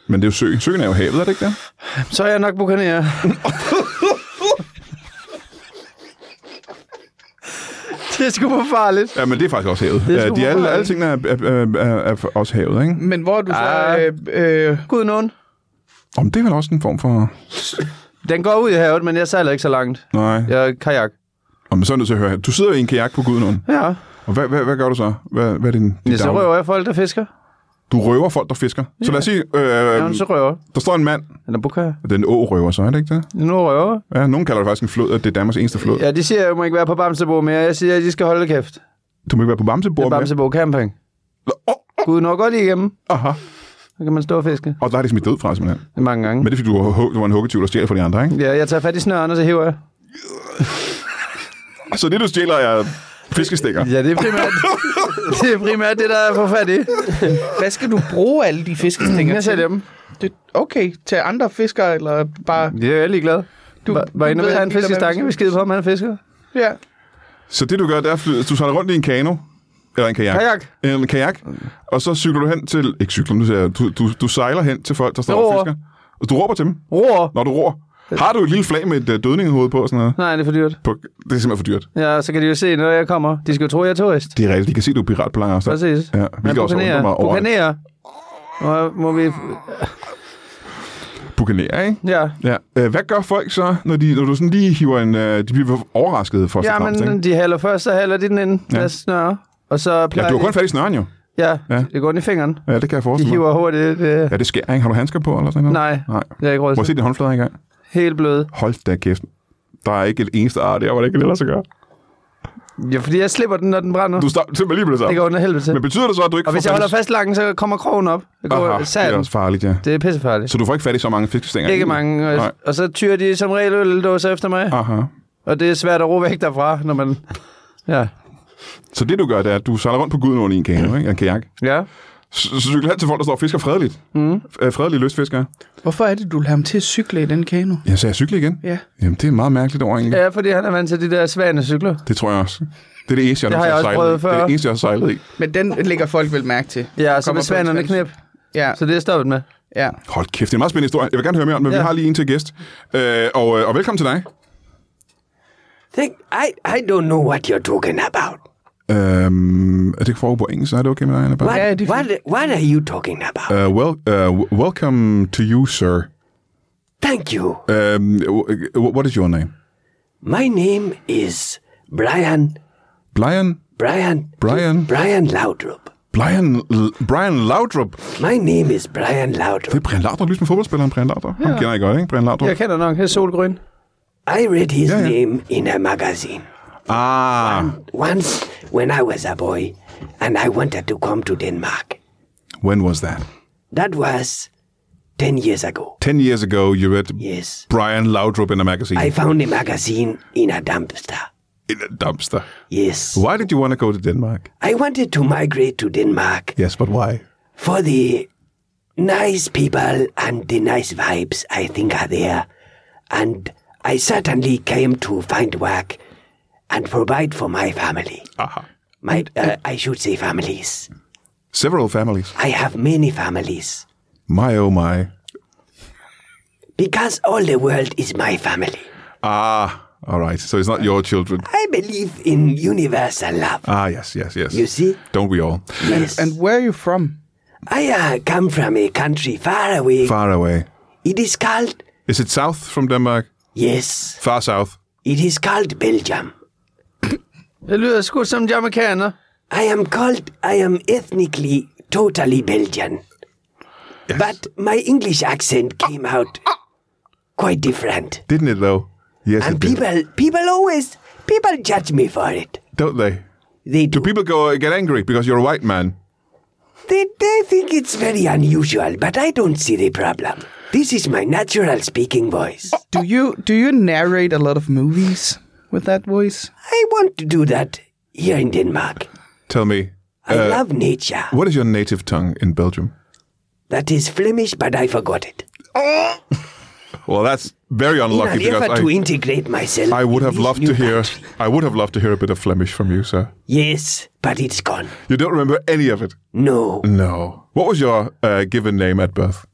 A: Men det er jo søen. Søen er jo havet, er det ikke det?
B: så er jeg nok bukaner. det er sgu for farligt.
A: Ja, men det er faktisk også havet.
B: er sgu
A: Øh, de alle,
B: forfærdeligt.
A: alle tingene er, er, er, er, er også havet, ikke?
D: Men hvor er du så...
B: Ah.
D: Øh, øh,
B: Gud nogen.
A: Om det er vel også en form for...
B: Den går ud i havet, men jeg sejler ikke så langt.
A: Nej. Ja.
B: Jeg er kajak.
A: Om så er jeg nødt til at høre her. Du sidder i en kajak på Gudenåen.
B: Ja.
A: Og hvad, hvad, hvad gør du så? Hvad, hvad er din, din
B: Ja, så
A: daglige-
B: røver jeg folk, der fisker.
A: Du røver folk, der fisker. Så lad os sige,
B: Jeg er
A: øh,
B: en sørøver.
A: der står en mand.
B: Eller bukaner.
A: Det er en å-røver, så er det ikke det?
B: Nu røver.
A: Ja, nogen kalder det faktisk en flod, og det er Danmarks eneste flod. Ja.
B: Ja, de siger, at jeg må ikke være på Bamsebo mere. Jeg siger, at de skal holde kæft. Det
A: Du må ikke være på
B: er
A: Bamsebord med.
B: Bamsebo camping.
A: Åh,
B: Gud, når går lige igennem.
A: aha.
B: Så kan man stå og fiske.
A: Og der har de smidt død fra, simpelthen.
B: Det er mange gange.
A: Men det er, fordi du var, hu- du var en huggetyv, der stjæler fra de andre, ikke?
B: Ja, jeg tager fat i snøren, og så hiver jeg.
A: Så det, du stjæler, er fiskestikker.
B: Ja, det er primært det, er primært det der er for fat i.
D: hvad skal du bruge alle de fiskestinger
B: Mm, Jeg ser
D: til?
B: dem.
D: Det, okay, til andre fiskere, eller bare...
B: Ja, jeg er ligeglad. Du var, var inde og
D: ved,
B: have
D: at
B: en
D: biler
B: fisk i
D: med
B: stangen, vi
D: fisk.
B: skidte på, om han er fisker.
D: Ja.
A: Så det, du gør, det er, at fly- du sejler rundt i en kano. Eller en kajak.
B: Kajak.
A: En kajak. Og så cykler du hen til... Ikke cykler, du, siger- du, du, du sejler hen til folk, der står
B: Jeg
A: og
B: roer.
A: fisker. Og du råber til dem,
B: Roer.
A: når du roer. Har du et lille flag med et uh, dødningehoved på og sådan noget?
B: Nej, det er for dyrt.
A: På, det er simpelthen for dyrt.
B: Ja, så kan de jo se, når jeg kommer. De skal jo tro, jeg er Altså- turist.
A: Det er rigtigt. De kan se, du er pirat på lang afstand.
B: Præcis.
A: Ja, hvilket også undrer mig over.
B: Bukanerer. Må, må vi...
A: Bukaner, ikke?
B: Ja.
A: Ja. Øh, Hvad gør folk så, når, de, når du sådan lige hiver en... øh, De bliver overrasket for
B: Ja,
A: ja, fremmest, ikke?
B: men de hælder først, så hælder de den ind. Ja. Lad snøre. Og så
A: Ja,
B: plejer
A: du har
B: de-
A: kun fat i snøren jo.
B: Ja,
A: Ja. Mm.
B: det går ind i fingeren.
A: Ja, det kan jeg
B: De
A: forestille mig.
B: hiver hurtigt. Øh,
A: Ja, det sker, ikke? Har du handsker på eller sådan noget?
B: nej,
A: Nej.
B: det er ikke råd
A: Prøv at se
B: til.
A: din håndflader i gang.
B: Helt blød.
A: Hold da kæft. Der er ikke et eneste ar der, hvor det ikke kan lade sig gøre.
B: Ja, fordi jeg slipper den, når den brænder.
A: Du står simpelthen lige med det
B: Det
A: samme.
B: går under helvede til.
A: Men betyder det så, at du ikke
B: Og hvis
A: får
B: jeg holder
A: fat
B: fast langen, så kommer krogen op. Det går
A: Aha, det er
B: satan.
A: også farligt, ja.
B: Det er pissefarligt.
A: Så du får ikke fat i så mange fiskestænger?
B: Ikke
A: egentlig?
B: mange. øh, Og,
A: Nej.
B: og så tyrer de som regel øldåser efter mig.
A: Aha.
B: Og det er svært at ro væk derfra, når man... Ja.
A: Så det, du gør, det er, at du sejler rundt på Gudenåen i en kano, ikke? En kajak.
B: Ja.
A: Så så cykler hen til folk, der står og fisker fredeligt. Mm. Fredelige lystfiskere.
D: Hvorfor er det, du vil have ham til at cykle i den kano?
A: Ja, så jeg cykler igen?
D: Ja.
A: Jamen, det er meget mærkeligt over, egentlig.
B: Ja, fordi han er vant til de der svane cykler.
A: Det tror jeg også. Det er det eneste, jeg,
B: Det har
A: nogensinde
B: jeg også
A: sejlet
B: prøvet
A: i. Det er
B: før.
A: det eneste, jeg har sejlet i.
D: Men den lægger folk vel mærke til.
B: Ja, så med
D: Kommer på en
B: svanerne
D: svensk.
B: knep.
D: Ja,
B: Så det er stoppet med.
D: ja.
A: Hold kæft, det er en meget spændende historie. Jeg vil gerne høre mere om, men ja.
B: Ja.
A: vi har lige en til gæst. Øh, og, øh, og velkommen til dig.
C: Think, I, I don't know what you're talking about.
A: Øhm, er det ikke foregår på engelsk, så er det okay med dig, Anna? Bang?
C: What,
D: Ja, det er
C: what, what are you talking about?
A: Uh, well, uh, w- welcome to you, sir.
C: Thank you.
A: Um, w- w- what is your name?
C: My name is Brian,
A: Brian?
C: Brian,
A: Brian?
C: Brian Laudrup.
A: Brian, L- Brian Laudrup.
C: My name is Brian
A: Det
C: Laudrup.
A: er Brian Laudrup, ligesom fodboldspilleren Brian Laudrup. Ja. Han kender I godt, ikke? Brian Laudrup.
B: Jeg kender nok. Her solgrøn.
C: I read his
A: Yeah, yeah.
C: name in a magazine.
A: Ah,
C: Once, when I was a boy, and I wanted to come to Denmark.
A: when was that?
C: That was 10 years ago.
A: Ten years ago, you read
C: Yes.
A: Brian Laudrup in a magazine.
C: I found a magazine in a dumpster.
A: In a dumpster.
C: Yes.
A: Why did you want to go to Denmark?
C: I wanted to migrate to Denmark
A: Yes, but why?
C: for the nice people and the nice vibes I think are there. And I certainly came to find work and provide for my family.
A: Aha.
C: My, uh, I should say families.
A: Several families.
C: I have many families
A: My oh my.
C: because all the world is my family.
A: Ah, all right. So it's not your children.
C: I believe in universal love.
A: Ah, yes, yes, yes.
C: You see?
A: Don't we all?
C: Yes.
D: And where are you from?
C: I uh, come from a country far away.
A: Far away.
C: It is called,
A: Is it south from Denmark?
C: yes,
A: Far south.
C: it is called Belgium.
B: Det lyder sgu som jamaikaner.
C: I am called, I am ethnically totally Belgian. But my English accent came out quite different.
A: Didn't it though? Yes,
C: And
A: it did.
C: people, people always, people judge me for it.
A: Don't they?
C: They
A: Do
C: do.
A: people go get angry because you're a white man?
C: They, they think it's very unusual, but I don't see the problem. This is my natural speaking voice.
D: Do you do you narrate a lot of movies with that voice?
C: I want to do that here in Denmark.
A: Tell me,
C: I
A: Uh,
C: love nature.
A: what is your native tongue in Belgium?
C: That is Flemish, but I forgot it.
A: Well, that's very
C: In an
A: unlucky because
C: effort to
A: I,
C: integrate myself.
A: I would
C: in
A: have
C: this
A: loved
C: new
A: to hear
C: country.
A: I would have loved to hear a bit of Flemish from you, sir.
C: Yes, but it's gone.
A: You don't remember any of it.
C: No,
A: No. What was your uh, given name at birth?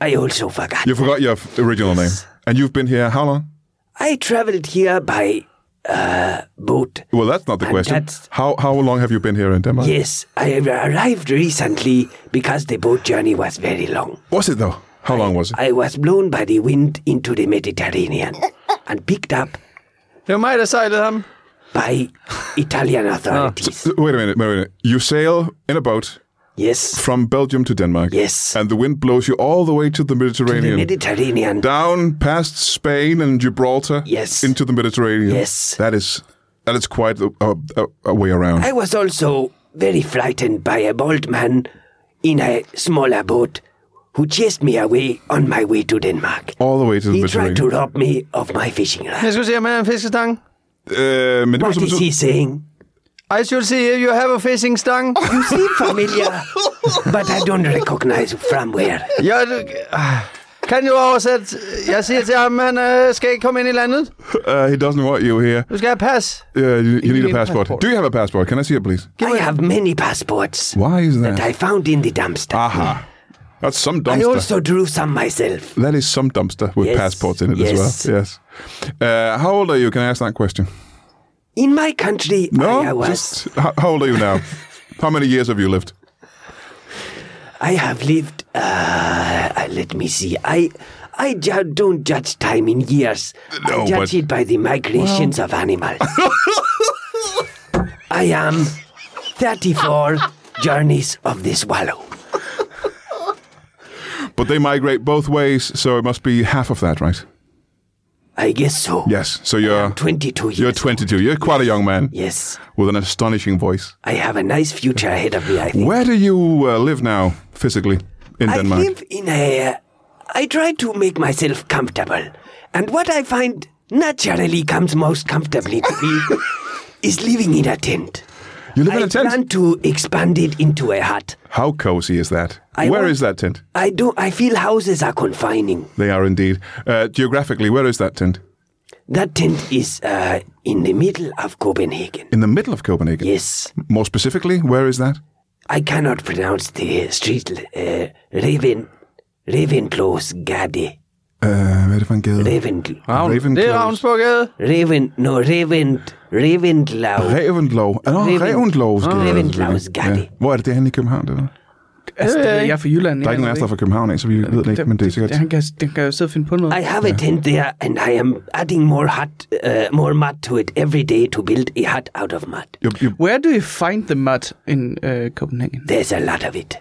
C: I also forgot.
A: You forgot your f- original name, and you've been here how long?
C: I traveled here by uh, boat.
A: Well, that's not the
C: And
A: question.
C: Uh, that's-
A: How how long have you been here in Denmark?
C: Yes, I arrived recently because the boat journey was very long.
A: Was it though? How long was it?
C: I was blown by the wind into the Mediterranean and picked up
B: Det var mig, der sejlede ham.
C: by Italian
A: Ah.
C: authorities.
A: Uh, Wait a minute, wait a minute. You sail in a boat
C: Yes,
A: from Belgium to Denmark.
C: Yes.
A: And the wind blows you all the way to the
C: the
A: Mediterranean.
C: Mediterranean.
A: down past Spain and Gibraltar.
C: Yes.
A: Into the Mediterranean.
C: Yes.
A: That is that is quite a, a, a, a way around.
C: I was also very frightened by a bold man in a smaller boat who chased me away on my way to Denmark.
A: all the way to the
C: He tried
A: Mediterranean.
C: to rob me of my fishing rod.
B: Jeg skulle se, om han havde en fiskestang.
A: Øh, men det var
C: What is he
A: simpelthen...
C: saying?
B: I should see if you have a fishing stang.
C: You seem familiar, but I don't recognize from where.
B: Jeg ah, kan jo oversætte. Jeg siger til ham, han øh, skal ikke komme ind i landet.
A: Uh, he doesn't want you here.
B: Du skal have pas.
A: Uh, you, you, need a
D: need a
A: passport.
D: passport.
A: Do you have a passport? Can I see it, please?
C: I have many passports
A: Why is that?
C: that I found in the dumpster.
A: Aha. That's some
C: I
A: dumpster.
C: also drew some myself.
A: That is some dumpster with
C: Yes.
A: passports in it as
C: Yes.
A: well. Yes. Uh, how old are you? Can I ask that question?
C: In my country,
A: No,
C: I was.
A: just how, how old are you now? how many years have you lived?
C: I have lived. Uh, uh, let me see. I I ju- don't judge time in years.
A: No,
C: I judge
A: but-
C: it by the migrations of animals. I am thirty-four journeys of the swallow.
A: But they migrate both ways, so it must be half of that, right?
C: I guess so.
A: Yes. So you're
C: Twenty-two years.
A: you're 22. You're quite a young man
C: Yes,
A: with an astonishing voice.
C: I have a nice future ahead of me. I think.
A: Where do you uh, live now, physically, in
C: I
A: Denmark?
C: live in a. I try to make myself comfortable, and what I find naturally comes most comfortably to me is living in a tent.
A: you live in
C: I
A: a tent.
C: plan to expand it into a hut.
A: How cozy is that? Where
C: I
A: is
C: want-
A: that tent?
C: I do. I feel houses are confining.
A: They are indeed. Uh, geographically, where is that tent?
C: That tent is uh, in the middle of Copenhagen.
A: In the middle of Copenhagen.
C: Yes,
A: More specifically, where is that?
E: I cannot pronounce the street uh, Raven Ravenclaw's Gade.
A: Øh, hvad er det for en gade?
E: Raven
B: Ravn.
A: Ravenclaw.
B: Det er Ravnsborgade.
E: Raven no Raven Ravenclaw.
A: Ravenlov. Ah, nå,
E: Raven-
A: Ravenlov. skal
E: Nå,
A: det være,
E: Ravenclaws
A: selvfølgelig.
E: Gade.
A: Hvor er det, det er henne i København? Det der? der
D: Altså, det ved jeg, jeg er fra Jylland.
A: er ikke nogen af os, der er fra København af, så vi ved det ikke, men det er sikkert...
D: Han kan, den kan jo sidde og finde på noget.
E: I have a tent there, and I am adding more hut, uh, more mud to it every day to build a hut out of mud.
A: Jo, jo,
D: Where do you find the mud in uh, Copenhagen?
E: There's a lot of it.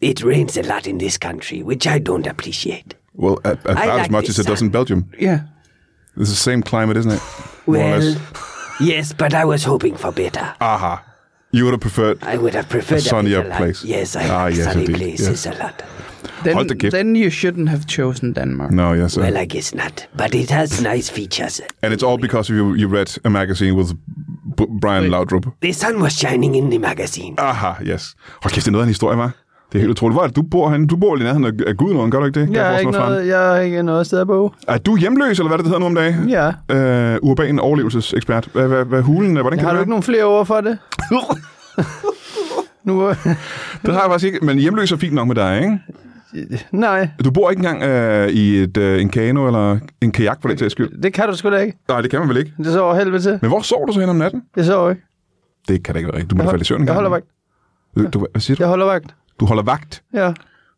E: It rains a lot in this country, which I don't appreciate.
A: well, a- a- about as
E: like
A: much as
E: this
A: it does in Belgium.
D: Yeah.
A: It's the same climate, isn't it? More or
E: Well,
A: less.
E: yes, but I was hoping for better.
B: uh-huh.
A: Aha. You would have preferred...
E: I would have preferred
A: A Ah, sunnier
E: better life.
A: place.
E: Yes, I
A: Ah,
E: like
A: yes,
E: sunny
A: indeed,
E: places a lot.
A: Hold da
D: Then,
A: kæft.
D: then you shouldn't have chosen Denmark.
A: No, yes, sir.
E: Well, I guess not. But it has nice features.
A: And it's all because you, you read a magazine with B- Brian Laudrup.
E: The sun was shining in the magazine.
A: Aha, yes. Hold kæft, det er noget af en historie, var. Det er helt utroligt. Hvor er det, du bor henne? Du bor lige i nærheden af- af Gudenåen, gør du ikke det?
B: Jeg har
A: Gudenåen
B: ikke
A: Strand.
B: noget, jeg har ikke noget sted at bo.
A: Er du hjemløs, eller hvad det hedder nu om dagen?
B: Ja.
A: Øh, urban overlevelsesekspert. Hvad, hvad, hvad hulen? Hvordan kan
B: Har du
A: det
B: ikke
A: være?
B: nogen flere ord for det? nu,
A: Det har jeg faktisk ikke, men hjemløs er fint nok med dig, ikke?
B: nej,
A: Du bor ikke engang øh, i et, øh, en kano eller en kajak, for den sags skyld.
B: det kan du sgu da ikke.
A: Nej, det kan man vel ikke.
B: Det sover helvede til.
A: Men hvor sover du så hen om natten?
B: Jeg sover ikke.
A: Det kan da ikke være rigtigt. Du må da
B: Jeg,
A: falde i søvn en
B: hold, jeg
A: gang.
B: holder vagt.
A: Du, du, hvad siger du?
B: Jeg holder vagt.
A: Du holder vagt.
B: Ja.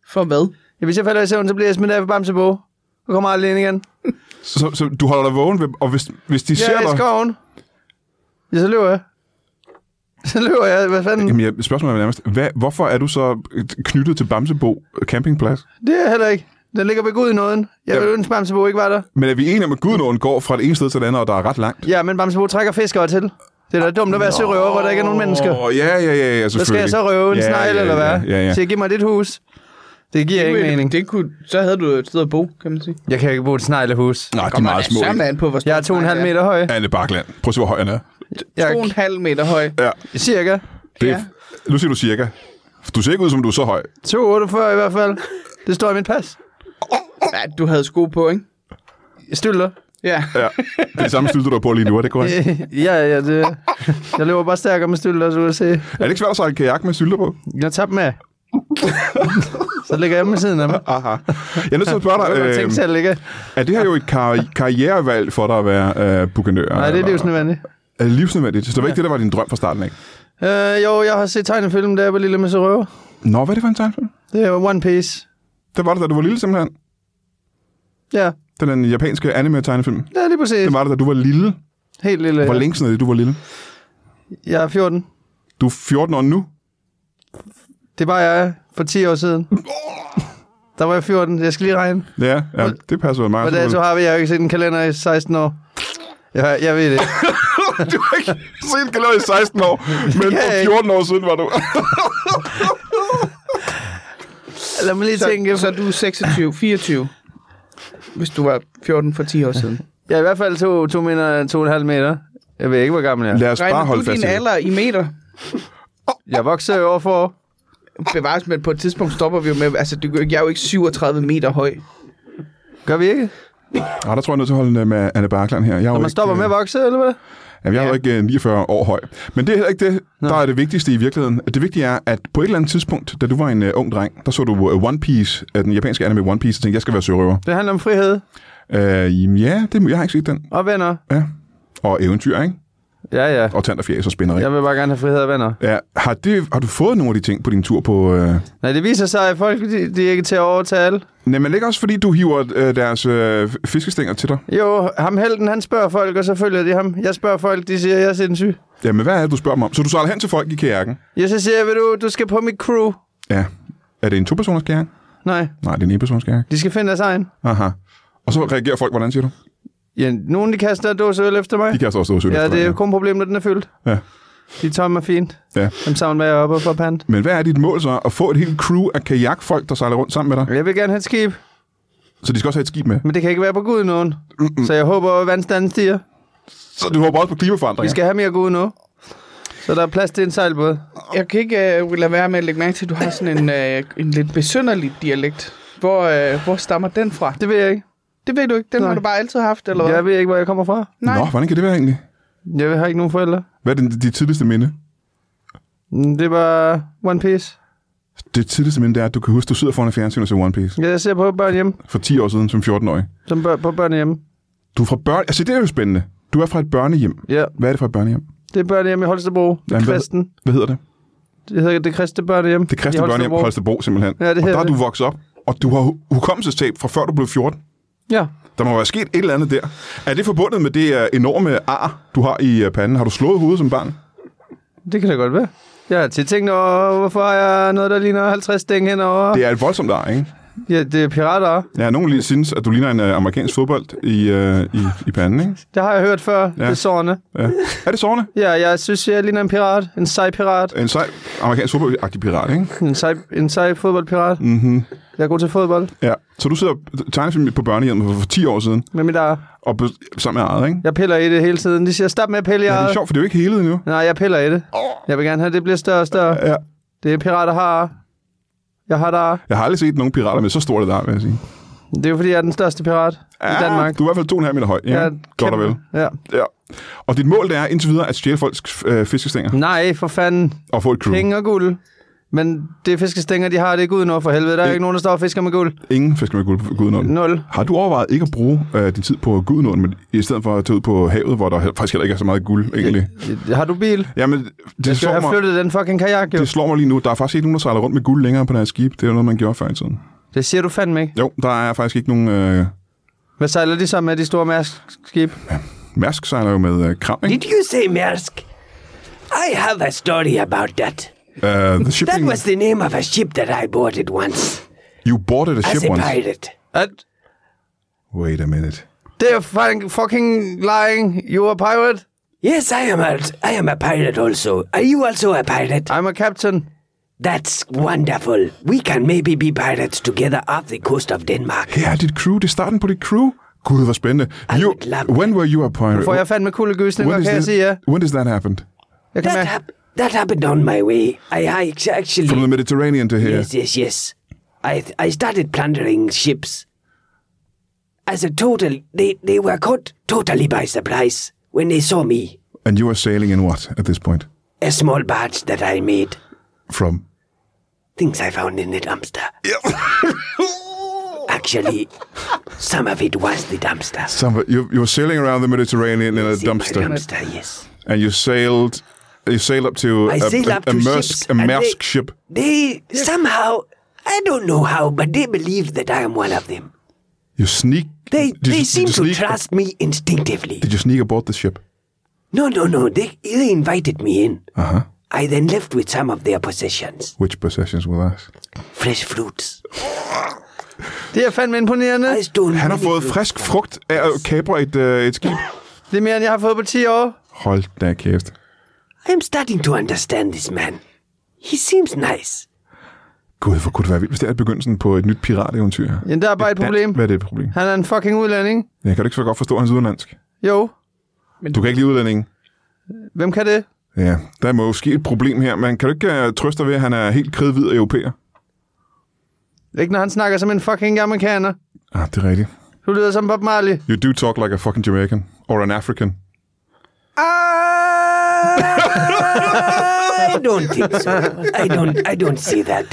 D: For hvad?
B: ja hvis jeg falder i søvn, så bliver jeg smidt af ved Bamsebo. Og kommer aldrig ind igen.
A: Så, så, så du holder dig vågen, ved- og hvis, hvis de
B: Jeg
A: ser
B: er i
A: dig...
B: skoven. Ja, så løber jeg. Så løber jeg. Hvad fanden?
A: Jamen, jeg, spørgsmålet er nærmest, hvad, hvorfor er du så øh, knyttet til Bamsebo campingplads?
B: Det er jeg heller ikke. Den ligger ved Gud i nåden. Jeg vil
A: Ja.
B: ønske, Bamsebo ikke var der.
A: Men er vi enige om, at Gudenåen går fra det ene sted til det andet, og der er ret langt?
B: Ja, men Bamsebo trækker fiskere til. Det er da dumt at være sørøver, hvor der ikke er nogen mennesker.
A: Åh, ja, ja, ja, ja, selvfølgelig.
B: Så skal jeg så røve en ja, snegl,
A: ja,
B: eller hvad?
A: Ja, ja, ja.
B: Så jeg giver mig dit hus. Det giver ingen mening.
D: Det kunne, så havde du et sted at bo, kan man sige.
B: Jeg kan ikke bo i et sneglehus.
A: Nej, de er meget
B: altså
A: små.
D: Samme
A: ikke?
D: an på, hvor stor
B: Jeg er to og en halv meter høj.
A: Anne Bakland. Prøv at se, hvor høj han er.
B: Jeg
D: To og en halv meter høj.
B: er cirka
A: Det,
D: Ja.
A: ja. Nu siger du cirka. Du ser ikke ud, som du er så høj.
B: 2,48 i hvert fald. Det står i mit pas.
D: Ja, du havde sko på, ikke?
B: Stylter.
D: Ja.
A: Ja. Det er det samme stylte, du har på lige nu, er det korrekt?
B: ja, ja, det... Jeg løber bare stærkere med stylter, så du kan se.
A: Er det ikke svært at sejle kajak med sylter på?
B: Jeg tager dem af. så ligger jeg med siden af mig.
A: Aha. Jeg er nødt til at spørge dig,
B: Jeg øh,
A: øh,
B: tænkte selv ikke.
A: er det her jo et kar- karrierevalg for dig at være øh, bukanør?
B: Nej, det er
A: eller-
B: livsnødvendigt.
A: Er det livsnødvendigt? Så det var ikke det, der var din drøm fra starten, ikke?
B: Øh, jo, jeg har set tegnefilm, da jeg var lille med røver.
A: Nå, hvad er det for en tegnefilm?
B: Det er One Piece.
A: Det var det, da du var lille simpelthen.
B: Ja,
A: Den er den japanske anime-tegnefilm.
B: det er lige præcis.
A: Det var det, da du var lille.
B: Helt lille.
A: Hvor længe siden er det, du var lille?
B: Jeg er 14.
A: Du er 14 år nu.
B: Det var jeg for 10 år siden. Der var jeg 14. Jeg skal lige regne.
A: Ja, ja det passer vel meget.
B: Hvad dato har vi? Jeg har jo ikke set en kalender i 16 år. Jeg, jeg ved det.
A: du har ikke set kalender i 16 år, men
B: kan
A: for
B: jeg ikke.
A: 14 år siden var du.
B: Lad mig lige
D: Så,
B: tænke.
D: så du er 26, 24. Hvis du var 14 for 10 år siden.
B: Jeg er i hvert fald 2 to, meter, to og en halv meter. Jeg ved ikke, hvor gammel jeg er.
A: Lad os bare
D: Regner
A: holde
D: du
A: fast
D: din
A: i det.
D: alder i meter?
B: Jeg vokser jo over for år.
D: Bevares, men på et tidspunkt stopper vi jo med... Altså, det, jeg er jo ikke 37 meter høj.
B: Gør vi ikke?
A: Ah, der tror jeg, jeg er nødt til at holde den med Anne Barkland her. Jeg er jo
B: Når man
A: ikke,
B: stopper
A: øh,
B: med at vokse, eller hvad?
A: Jamen, jeg er jo ikke øh, 49 år høj. Men det er heller ikke det, der er det vigtigste i virkeligheden. Det vigtige er, at på et eller andet tidspunkt, da du var en uh, ung dreng, der så du uh, One Piece, uh, den japanske anime One Piece, og tænkte, jeg skal være sørøver.
B: Det handler om frihed
A: Uh, jamen, ja, det, jeg har ikke set den.
B: og venner.
A: Ja. Og eventyr, ikke?
B: Ja, ja.
A: Og tand og fjæs og spænderi.
B: Jeg vil bare gerne have frihed og venner.
A: Ja, har, det, har du fået nogle af de ting på din tur på... Øh...
B: Nej, det viser sig, at folk de, de er ikke til at overtale.
A: Nej, men ikke også fordi, du hiver øh, deres øh, fiskestænger til dig.
B: Jo, ham helten, han spørger folk, og så følger de ham. Jeg spørger folk, de siger, jeg er sindssyg.
A: Jamen, hvad er det, du spørger mig om? Så du sejler hen til folk i kajakken.
B: Jeg så siger, ved du, du skal på mit crew.
A: Ja. Er det en to-personers kajak?
B: Nej,
A: Nej, det er en en-personers kajak.
B: de skal finde deres egen.
A: Aha. Og så reagerer folk, hvordan siger du?
B: Ja, nogen de kaster en dåse øl efter mig.
A: De kaster også dåse
B: ja, det er kun problemet, når den er fyldt.
A: Ja.
B: De er tomme og fint.
A: Ja.
B: Dem samler jeg op og får pant.
A: Men hvad er dit mål så? At få et helt crew af kajakfolk, der sejler rundt sammen med dig?
B: Jeg vil gerne have et skib,
A: Så de skal også have et skib med.
B: men det kan ikke være på Gud nogen. Så jeg håber, at vandstanden stiger.
A: Så du håber også på
B: Vi
A: klimaforandringer?
B: skal have mere Gud nu. Så der er plads til en sejlbåd.
D: Jeg kan ikke uh, lade være med at lægge mærke til, at du har sådan en, uh, en lidt besynderlig dialekt. Hvor, uh, hvor stammer den fra?
B: Det ved jeg ikke.
D: Det ved du ikke. Den
B: Nej.
D: har du bare altid haft, eller hvad?
B: Jeg ved ikke, hvor jeg kommer fra.
D: Nej.
A: Nå, hvordan kan det være egentlig?
B: Jeg har ikke nogen forældre.
A: Hvad er din, dit tidligste minde?
B: Mm, Det var One Piece.
A: Det tidligste minde det er, at du kan huske, du sidder foran et fjernsyn og ser One Piece.
B: Ja, Jeg ser på børn hjemme.
A: For 10 år siden, som 14-årig.
B: Som bør, på børn hjemme.
A: Du er fra børn... Altså, det er jo spændende. Du er fra et børnehjem.
B: Ja,
A: Hvad er det for et børnehjem?
B: det er børn hjemme i Holstebro. Det
A: Jamen,
B: er
A: hvad-
B: kristen.
A: Hvad hedder det?
B: Det hedder det kristne børn hjemme.
A: Det kristne børnehjem på Holstebro, simpelthen.
B: Ja, det
A: og
B: hedder
A: der er
B: det.
A: du vokset op, og du har hu- hukommelsestab fra før du blev 14.
B: Ja.
A: Der må være sket et eller andet der. Er det forbundet med det øh, enorme ar, du har i øh, panden? Har du slået hovedet som barn?
B: Det kan da godt være. Jeg har tit tænkt over, hvorfor har jeg noget, der ligner 50 stæng henover. Det...
A: Det er et voldsomt ar, ikke?
B: Ja, det er pirater.
A: Ja, nogen lige synes, at du ligner en øh, amerikansk fodbold i, øh, i, i panden, ikke?
B: Det har jeg hørt før, ja. det er sårende.
A: Ja. Er det sårende?
B: Ja, jeg synes, jeg ligner en pirat. En sej pirat.
A: En sej amerikansk fodboldagtig pirat, ikke?
B: En sej, en sej fodboldpirat.
A: Mm-hmm.
B: Jeg er god til fodbold
A: Ja. Så du sidder tegnefilm på børnehjemmet for, for 10 år siden,
B: med mit ar.
A: og på, sammen med ejet, ikke?
B: Jeg piller i det hele tiden. De siger, stop med at pille i
A: Ja, det er
B: arret."
A: sjovt, for det er jo ikke helet endnu.
B: Nej, jeg piller i det. Jeg vil gerne have, at det bliver større og større.
A: Ja.
B: Det er pirater har ar. Jeg har der ar.
A: Jeg har aldrig set nogen pirater med så stort et ar, vil jeg sige.
B: Det er jo, fordi jeg er den største pirat i Danmark.
A: Du er i hvert fald 2,5 meter høj. Ja,
B: Jeg er
A: godt og vel.
B: kæmpe- Ja.
A: Ja. Og dit mål det er indtil videre at stjæle folks øh, fiskestænger
B: Nej, for fanden.
A: og få et crew.
B: Penge og guld. Men det fiskestænger, de har, det er gud over for helvede. Der er
A: Det-
B: ikke nogen, der står og fisker med guld.
A: Ingen fisker med guld, gudenål.
B: Nul.
A: Har du overvejet ikke at bruge øh, din tid på gudenål, men i stedet for at tage ud på havet, hvor der he- faktisk heller ikke er så meget guld, egentlig?
B: Har du bil?
A: Jamen, det
B: Øh, Jeg skal
A: slår,
B: have
A: mig,
B: flyttet den fucking kajak, jo.
A: det slår mig lige nu. Der er faktisk ikke nogen, der sejler rundt med guld længere på deres skib. Det er jo noget, man gjorde før i tiden.
B: Det siger du fandme ikke.
A: Jo, der er faktisk ikke nogen... Øh,
B: Hvad sejler de så med, de store mærskskib?
A: Mærsk sejler jo med øh, kram, ikke?
C: Did you say Maersk? I have a story about that.
A: Uh, the
C: That
A: shipping...
C: was the name of a ship that I boarded once
A: You boarded a
C: as
A: ship
C: a
A: once.
C: pirate.
B: At
A: Wait a minute.
B: det er fucking, fucking lying. You are a pirate.
C: Yes, I am a I am a pirate also. Are you also a pirate?
B: I'm a captain.
C: That's wonderful. We can maybe be pirates together off the coast of Denmark.
A: Her er dit crew. Det er starten på dit crew. Gud, hvor spændende. You,
C: would love
A: when were you a pirate?
B: Får jeg fandme kuldegysninger,
A: is
B: kan jeg
A: that-
B: sige ja.
A: when does that happen?
B: Jeg kan
C: That
B: mærke.
C: hap- that happened on my way. I, I
A: From
C: ac-
A: the
C: actually
A: Mediterranean to here.
C: yes yes yes. I I started plundering ships. As a total, they they were caught totally by surprise when they saw me.
A: And you are sailing in what at this point?
C: A small barge that I made.
A: From?
C: Things I found in the dumpster. Actually, some of it was the dumpster.
A: Somewhere, you, you were sailing around the Mediterranean in a
C: In my
A: dumpster.
C: dumpster, yes.
A: And you sailed... You sailed up to
C: I
A: a,
C: sailed
A: a,
C: up
A: a,
C: to
A: Maersk,
C: ships
A: a
C: and
A: Maersk
C: they-
A: ship.
C: They somehow, I don't know how, but they believe that I am one of them.
A: You sneak...
C: They
A: did,
C: they
A: you,
C: seem
A: did you
C: to
A: sneak,
C: trust me instinctively.
A: Did you sneak aboard the ship?
C: No, no, no. They they invited me in.
A: Uh-huh.
C: I then left with some of their possessions,
A: Which possessions were that?
C: fresh fruits.
B: Det er fandme imponerende.
C: I stole
A: Han har
C: many
A: fået
C: fruits.
A: frisk frugt af at kapre et, øh, et skib.
B: Det er mere, end jeg har fået på 10 år.
A: Hold da kæft.
C: I'm starting to understand this man. He seems nice.
A: Gud, hvor kunne det være vildt, hvis det er begyndelsen på et nyt pirateventyr.
B: Men der er bare et problem.
A: Hvad er det et problem?
B: Han er en fucking udlænding.
A: Jeg kan du ikke så godt forstå hans udenlandsk.
B: Jo,
A: Du kan ikke lide udlændingen.
B: hvem kan det?
A: Ja, der er måske et problem her, men kan du ikke uh, trøste dig ved, at han er helt kridhvid europæer?
B: Ikke når han snakker som en fucking amerikaner.
A: Ah, det er rigtigt.
B: Du lyder som Bob Marley.
A: You do talk like a fucking Jamaican. Or an African.
C: I don't think so. I don't. I don't see that.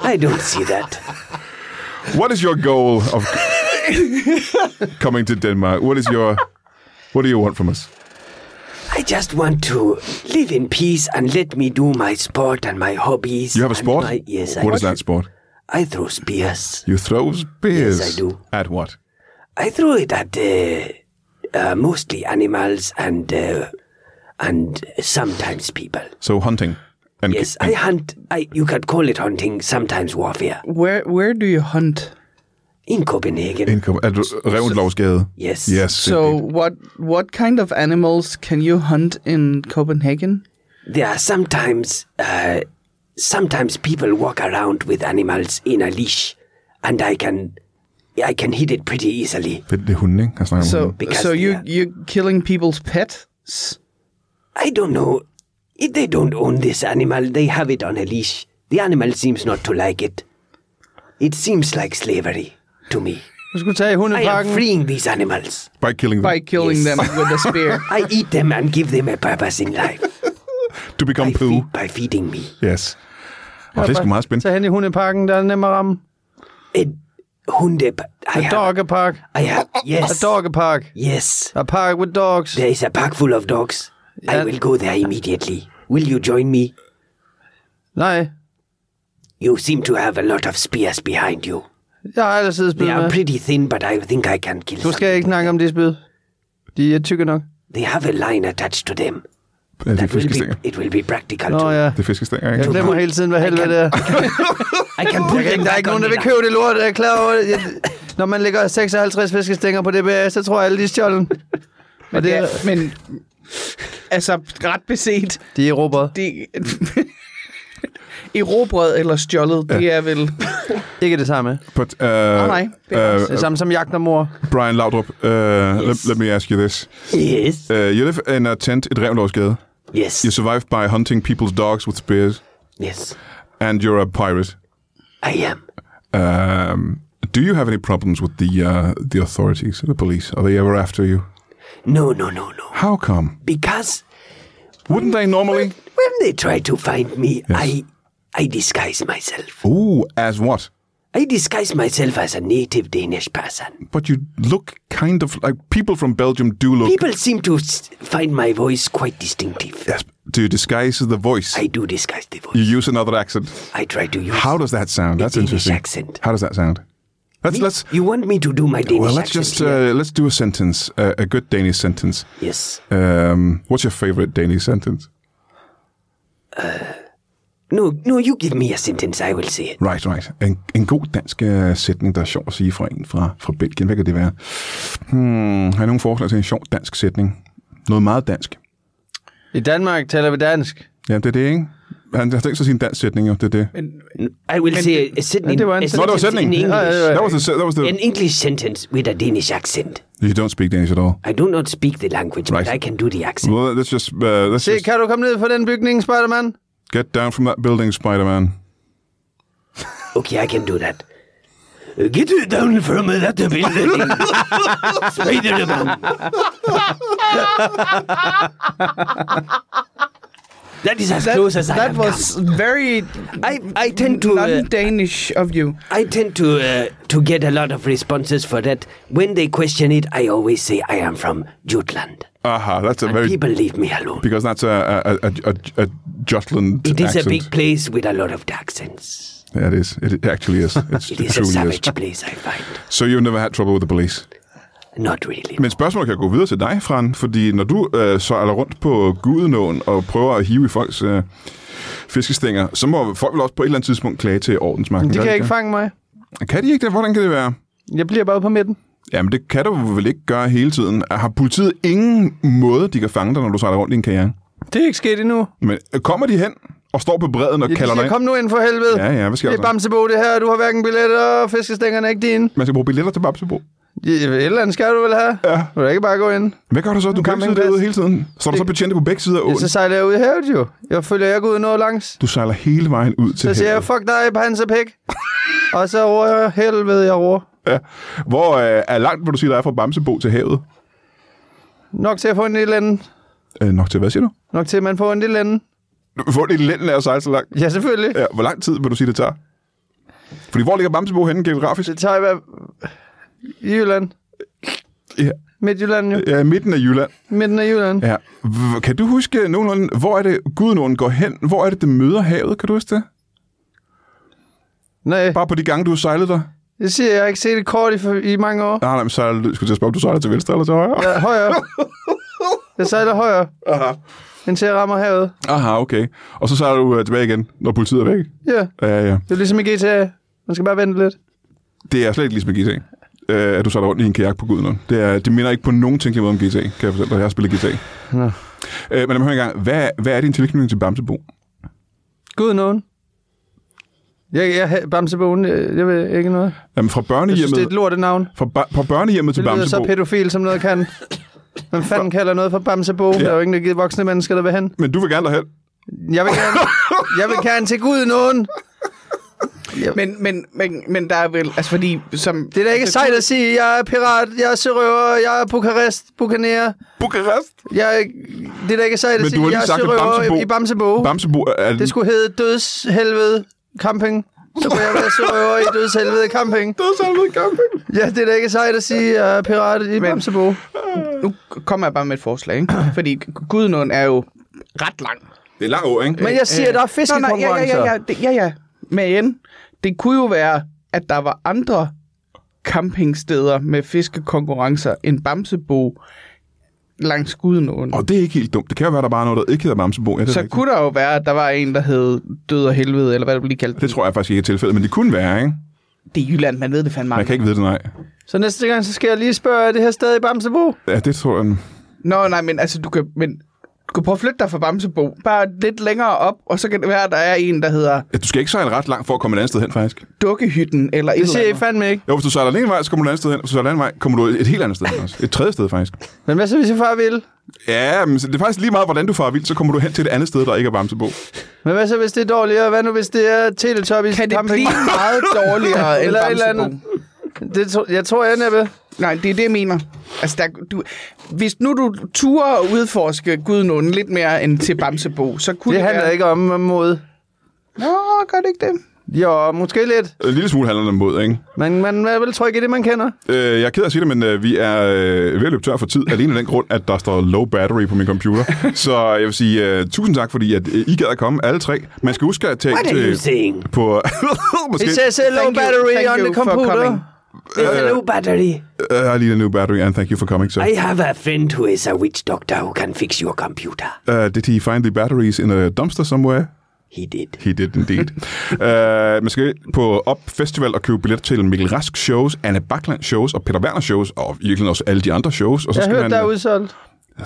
C: I don't see that.
A: What is your goal of coming to Denmark? What is your... What do you want from us?
C: I just want to live in peace and let me do my sport and my hobbies.
A: You have a
C: and
A: sport?
C: my- yes, I
A: What is that sport?
C: I throw spears.
A: You throw spears.
C: Yes, I do.
A: At what?
C: I throw it at uh, uh, mostly animals and uh, and sometimes people.
A: So hunting. And
C: Yes, I hunt. I you could call it hunting. Sometimes warfare
D: Where, where do you hunt?
C: in Copenhagen.
A: Indkom- at Reventlovsgade.
C: yes.
A: Yes.
D: So
A: indeed.
D: what what kind of animals can you hunt in Copenhagen?
C: There are sometimes, uh, sometimes people walk around with animals in a leash, and I can, I can hit it pretty easily.
A: Det det er hunden, ikke? Han snakker om
D: So
A: hunden.
C: Because
D: so
C: they
D: you
C: are-
D: you killing people's pets?
C: I don't know if they don't own this animal; they have it on a leash. The animal seems not to like it. It seems like slavery to me.
B: Du skulle tage i
C: I am
B: hundeparken.
C: freeing these animals.
A: By killing them.
D: by killing
C: Yes.
D: them with a spear.
C: I eat them and give them a purpose in life.
A: to become
C: by,
A: poo.
C: fe- by feeding me.
A: Yes. Og det er sgu meget spændende.
B: Tag hen i hundeparken, der er nem at ramme.
C: A hunde. I
B: A
C: have,
B: doggepark.
C: I have,
B: A
C: yes.
B: doggepark.
C: Yes.
B: A park with dogs.
C: There is a pack full of dogs. I
B: Yeah.
C: will go there immediately. Will you join me?
B: Nej,
C: You seem to have a lot of spears behind you.
B: jeg har ellers siddet
C: They are
B: med.
C: pretty thin, but I think I can kill
B: Du
C: some.
B: skal ikke snakke om det spyd. De er tykke nok.
C: They have a line attached to them.
A: Ja, det er
C: That will be,
A: fiskestænger.
C: it will be practical
B: Nå
C: to
B: ja.
A: Det er fiskestænger,
B: Jeg
A: ikke?
B: glemmer hele tiden, hvad helvede det er.
C: I can
B: Jeg kan
C: put them
B: ikke, der er
C: back
B: ikke nogen,
C: on
B: der vil
C: it.
B: købe det lort. Jeg er klar over det. Jeg- Når man lægger 56 fiskestænger på DBA, så tror jeg, alle de er stjålet. Og det
D: Ja,
B: er,
D: men altså ret beset,
B: de er robot.
D: det erobret eller stjålet, det er vel...
B: Ikke det samme.
A: But, uh, oh,
D: nej. Det er
B: Det samme som jagt og mor.
A: Brian Laudrup, uh, let, let me ask you this.
C: Yes.
A: Uh, you live in a tent in Revlovsgade.
C: Yes.
A: You survive by hunting people's dogs with spears,
C: Yes.
A: and you're a pirate.
C: I am.
A: Um, do you have any problems with the uh, the authorities, the police? Are they ever after you?
C: No, no, no, no.
A: How come?
C: Because
A: Wouldn't they normally?
C: when they try to find me,
A: Yes.
C: I I disguise myself.
A: Ooh, as what?
C: I disguise myself as a native Danish person.
A: But you look kind of like people from Belgium do look.
C: People seem to s- find my voice quite distinctive.
A: Yes, to disguise the voice,
C: I do disguise the voice.
A: you use another accent.
C: I try to use
A: How does that sound? That's
C: Danish
A: interesting.
C: accent.
A: How does that sound? Let's let's
C: You want me to do my Danish
A: well let's
C: accent
A: just
C: here?
A: uh, let's do a sentence, uh, a good Danish sentence.
C: yes.
A: Um, what's your favorite Danish sentence?
C: No, no. You give me a sentence. I will say it.
A: Right, right. En, en god dansk øh, sætning, der er sjov at sige fra en fra, fra Belgien. Hvad kan det være? Hmm, har I nogen forslag til en sjov dansk sætning? Noget meget dansk.
B: I Danmark taler vi dansk.
A: Ja, det er det, ikke? Han har tænkt sig sin dansk sætning, jo. Det er det.
C: I will say a sentence.
B: det var en-
C: a
B: Nå,
A: Nå, det var
C: sentence in
A: sætningen.
C: English.
A: That was the, that was the,
C: An English sentence with a Danish accent.
A: you don't speak Danish at all.
C: I do not speak the language,
A: Right.
C: but I can do the accent.
A: Well, let's just, uh, let's
B: Se,
A: just
B: kan du komme ned fra den bygning, Spider-Man?
A: get down from that building, Spider-Man.
C: Okay, I can do that. Uh, Get it down from uh, that building. Spider-Man. that is as close
B: altså,
C: as I
D: that
C: have
D: was very
C: come. I, I tend to uh,
B: øh,
D: non-Danish of you.
C: I tend to uh, to get a lot of responses for that. When they question it, I always say I am from Jutland.
A: Aha, that's a very...
C: People leave me alone.
A: Because that's a, a, a, a, a, a Jutland
C: It is
A: accent.
C: a big place with a lot of accents.
A: Yeah, it is. It actually is. It's, it
C: It is a
A: truly is.
C: savage place, I find.
A: So you've never had trouble with the police?
C: Not really.
A: Men spørgsmålet kan gå videre til dig, Fran, fordi når du øh, sejler rundt på Gudenåen og prøver at hive i folks øh, fiskestænger, så må folk vel også på et eller andet tidspunkt klage til ordensmagten.
B: De
A: gør
B: kan ikke fange mig.
A: Kan de ikke det? Hvordan kan det være?
B: Jeg bliver bare ude på midten.
A: Jamen, det kan du vel ikke gøre hele tiden. Har politiet ingen måde, de kan fange dig, når du sejler rundt i en kajak?
B: Det er ikke sket endnu.
A: Men øh, kommer de hen og står på bredden og
B: Ja, de
A: kalder dig
B: siger,
A: ind?
B: kom nu ind for helvede.
A: Ja, ja, hvad sker
B: det
A: der
B: er
A: så?
B: Bamsebo, det her. Du har hverken billetter, og fiskestængerne er ikke dine.
A: Man skal bruge billetter til Babsebo.
B: Ja, Et eller andet skal du vel have? Ja. Vil du ikke bare gå ind?
A: Hvad gør du så? Du kan ikke
B: campingplads.
A: sidde derude hele tiden. Står der så betjente på begge sider af
B: Ja,
A: åen?
B: så sejler jeg ud i havet jo. Jeg følger jeg ikke ud noget langs.
A: Du sejler hele vejen ud til
B: Så siger jeg,
A: havet.
B: fuck dig, pansepæk. og så roer jeg helvede, jeg roer.
A: Ja. Hvor øh, er langt, vil du sige, der er fra Bamsebo til havet?
B: Nok til at få en lille anden.
A: Øh, nok til hvad, siger du?
B: Nok til, at man får en lille anden.
A: Få det i lænden af at sejle så langt.
B: Ja, selvfølgelig. Ja.
A: Ja, hvor lang tid vil du sige, det tager? Fordi hvor ligger Bamsebo henne geografisk?
B: Det tager jeg hver... i Jylland.
A: Ja,
B: Midtjylland jo.
A: ja, midten af Jylland.
B: Midten af Jylland.
A: Ja. V- Kan du huske nogenlunde, hvor er det Gudnåen går hen? Hvor er det, det møder havet? Kan du huske det?
B: Nej,
A: Bare på de gange, du har sejlet der?
B: det siger jeg. jeg har ikke set et kort i, for- i mange år.
A: Nej, nej, men sejler, du- skulle til at spørge, om du sejler til venstre eller til højre?
B: Ja, højere. Jeg sejler højere,
A: Aha.
B: indtil jeg rammer havet.
A: Aha, okay. Og så sejler du øh, tilbage igen, når politiet er væk?
B: Ja,
A: Ja, ja.
B: det er ligesom i GTA. Man skal bare vente lidt.
A: Det er slet ikke ligesom i GTA. øh, at du sejler rundt i en kajak på Gudnåen. Det, er, det minder ikke på nogen tænkelig måde om GTA, kan jeg fortælle dig. Jeg har spillet GTA.
B: Nå.
A: Øh, men lad mig høre en gang. Hvad, hvad er din tilknytning til Bamsebo?
B: Gud nogen. Jeg, jeg, Bamsebogen, jeg, jeg ved ikke noget.
A: Jamen, fra
B: Jeg synes, det er
A: børnehjemmet,
B: et lortet navn.
A: fra, ba- fra børnehjemmet til
B: Det lyder så
A: Bamsebo.
B: pædofil, som noget kan. Hvem fanden kalder noget for Bamsebo? Ja. Der er jo ingen der gider voksne mennesker, der vil hen.
A: Men du vil gerne derhen.
B: Jeg vil gerne, jeg vil gerne til Gud nogen.
D: Men, men, men, men der er vel, altså fordi, som... Altså,
B: Det er da ikke sejt at sige, jeg er pirat, jeg er sørøver, jeg er Bukarest, Bukaner.
A: Bukarest?
B: Jeg er, det er da ikke sejt at
A: Men du har lige
B: sige, jeg er
A: sagt, at
B: sørøver
A: Bamsebo-
B: i Bamsebo.
A: Bamsebo er...
B: Det skulle hedde Dødshelvede Camping. Så kunne jeg være sørøver i Dødshelvede Camping.
A: Dødshelvede camping.
B: Ja, det er da ikke sejt at sige, jeg er pirat i Bamsebo.
D: Nu kommer jeg bare med et forslag, ikke? Fordi Gudnåen er jo ret lang.
A: Det er lang år, ikke?
B: Men jeg siger, der er
D: ja, ja,
B: fiskekonkurrencer.
D: ja, ja, det, ja, ja. Men det kunne jo være, at der var andre campingsteder med fiskekonkurrencer end Bamsebo langs Gudnåen.
A: Og det er ikke helt dumt. Det kan jo være, der bare er noget, der ikke hedder Bamsebo. Ja, det, er
D: Så
A: rigtigt.
D: kunne der jo være, at der var en, der hed Død og Helvede, eller hvad det blev kaldt.
A: det tror jeg faktisk ikke er tilfældet, men det kunne være, ikke?
D: Det er Jylland, man ved det fandme.
A: Man kan ikke vide det, nej.
B: Så næste gang, så skal jeg lige spørge, er det her stadig i Bamsebo?
A: Ja, det tror jeg.
D: Nå, nej, men altså, du kan, men, du kan prøve at flytte dig fra Bamsebo. Bare lidt længere op, og så kan det være, at der er en, der hedder
A: Ja, du skal ikke sejle ret langt for at komme et andet sted hen, faktisk.
D: Dukkehytten, eller et
B: Det siger I
D: eller andet.
B: fandme ikke.
A: Jo, hvis du sejler den ene vej, så kommer du et andet sted hen. Hvis du sejler den anden vej, kommer du et helt andet sted hen også. Et tredje sted, faktisk.
B: Men hvad så, hvis jeg far vil?
A: Ja, men det er faktisk lige meget, hvordan du farer vildt, så kommer du hen til et andet sted, der ikke er Bamsebo.
B: Men hvad så, hvis det er dårligere? Hvad nu, hvis det er Teletubbies
D: Kan det
B: camping?
D: blive meget dårligere end
B: Eller et eller
D: Bamsebo?
B: andet. Det tro, jeg tror, jeg næppe.
D: Nej, det er det, jeg mener. Altså, der, du, hvis nu du turer at udforske Gudnåen lidt mere end til Bamsebo, så kunne
B: Det
D: det,
B: handler
D: være...
B: ikke om øh, mod.
D: Nå, gør det ikke det?
B: Jo, måske lidt.
A: En lille smule handler det om mod, ikke?
B: Men man er vel tryg i det, man kender.
A: Øh, jeg er ked af at sige det, men øh, vi er øh, ved at løbe tør for tid, alene af den grund, at der står low battery på min computer. så jeg vil sige øh, tusind tak, fordi at, øh, I gad at komme, alle tre. Man skal huske at tage
E: What are you saying?
A: på...
B: It
A: måske...
B: says hello
D: Thank you-
B: battery
D: thank
B: on
D: you
B: the
D: for coming.
B: computer.
E: There's a no battery.
A: Uh, I need a new battery, and thank you for coming, sir.
E: I have a friend who is a witch doctor who can fix your computer.
A: Uh, did he find the batteries in a dumpster somewhere?
E: He did.
A: He did indeed. uh, man skal på Op Festival og købe billet til Mikkel Rask shows, Anne Bakland shows og Peter Werner shows, og virkelig også alle de andre shows. Og så
B: Jeg
A: skal
B: hørte,
A: man, øh,
B: der er udsolgt.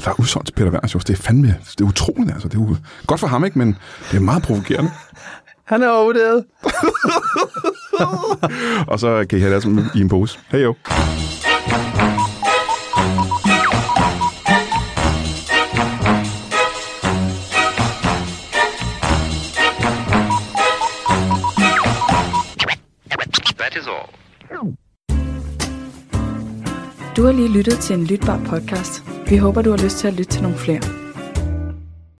A: Der er udsolgt til Peter Werner shows. Det er fandme, det er utroligt altså. Det er u- godt for ham, ikke? Men det er meget provokerende.
B: Han er overvurderet.
A: og så kan I have det altså i en pose. Hej jo.
F: Du har lige lyttet til en lytbar podcast. Vi håber, du har lyst til at lytte til nogle flere.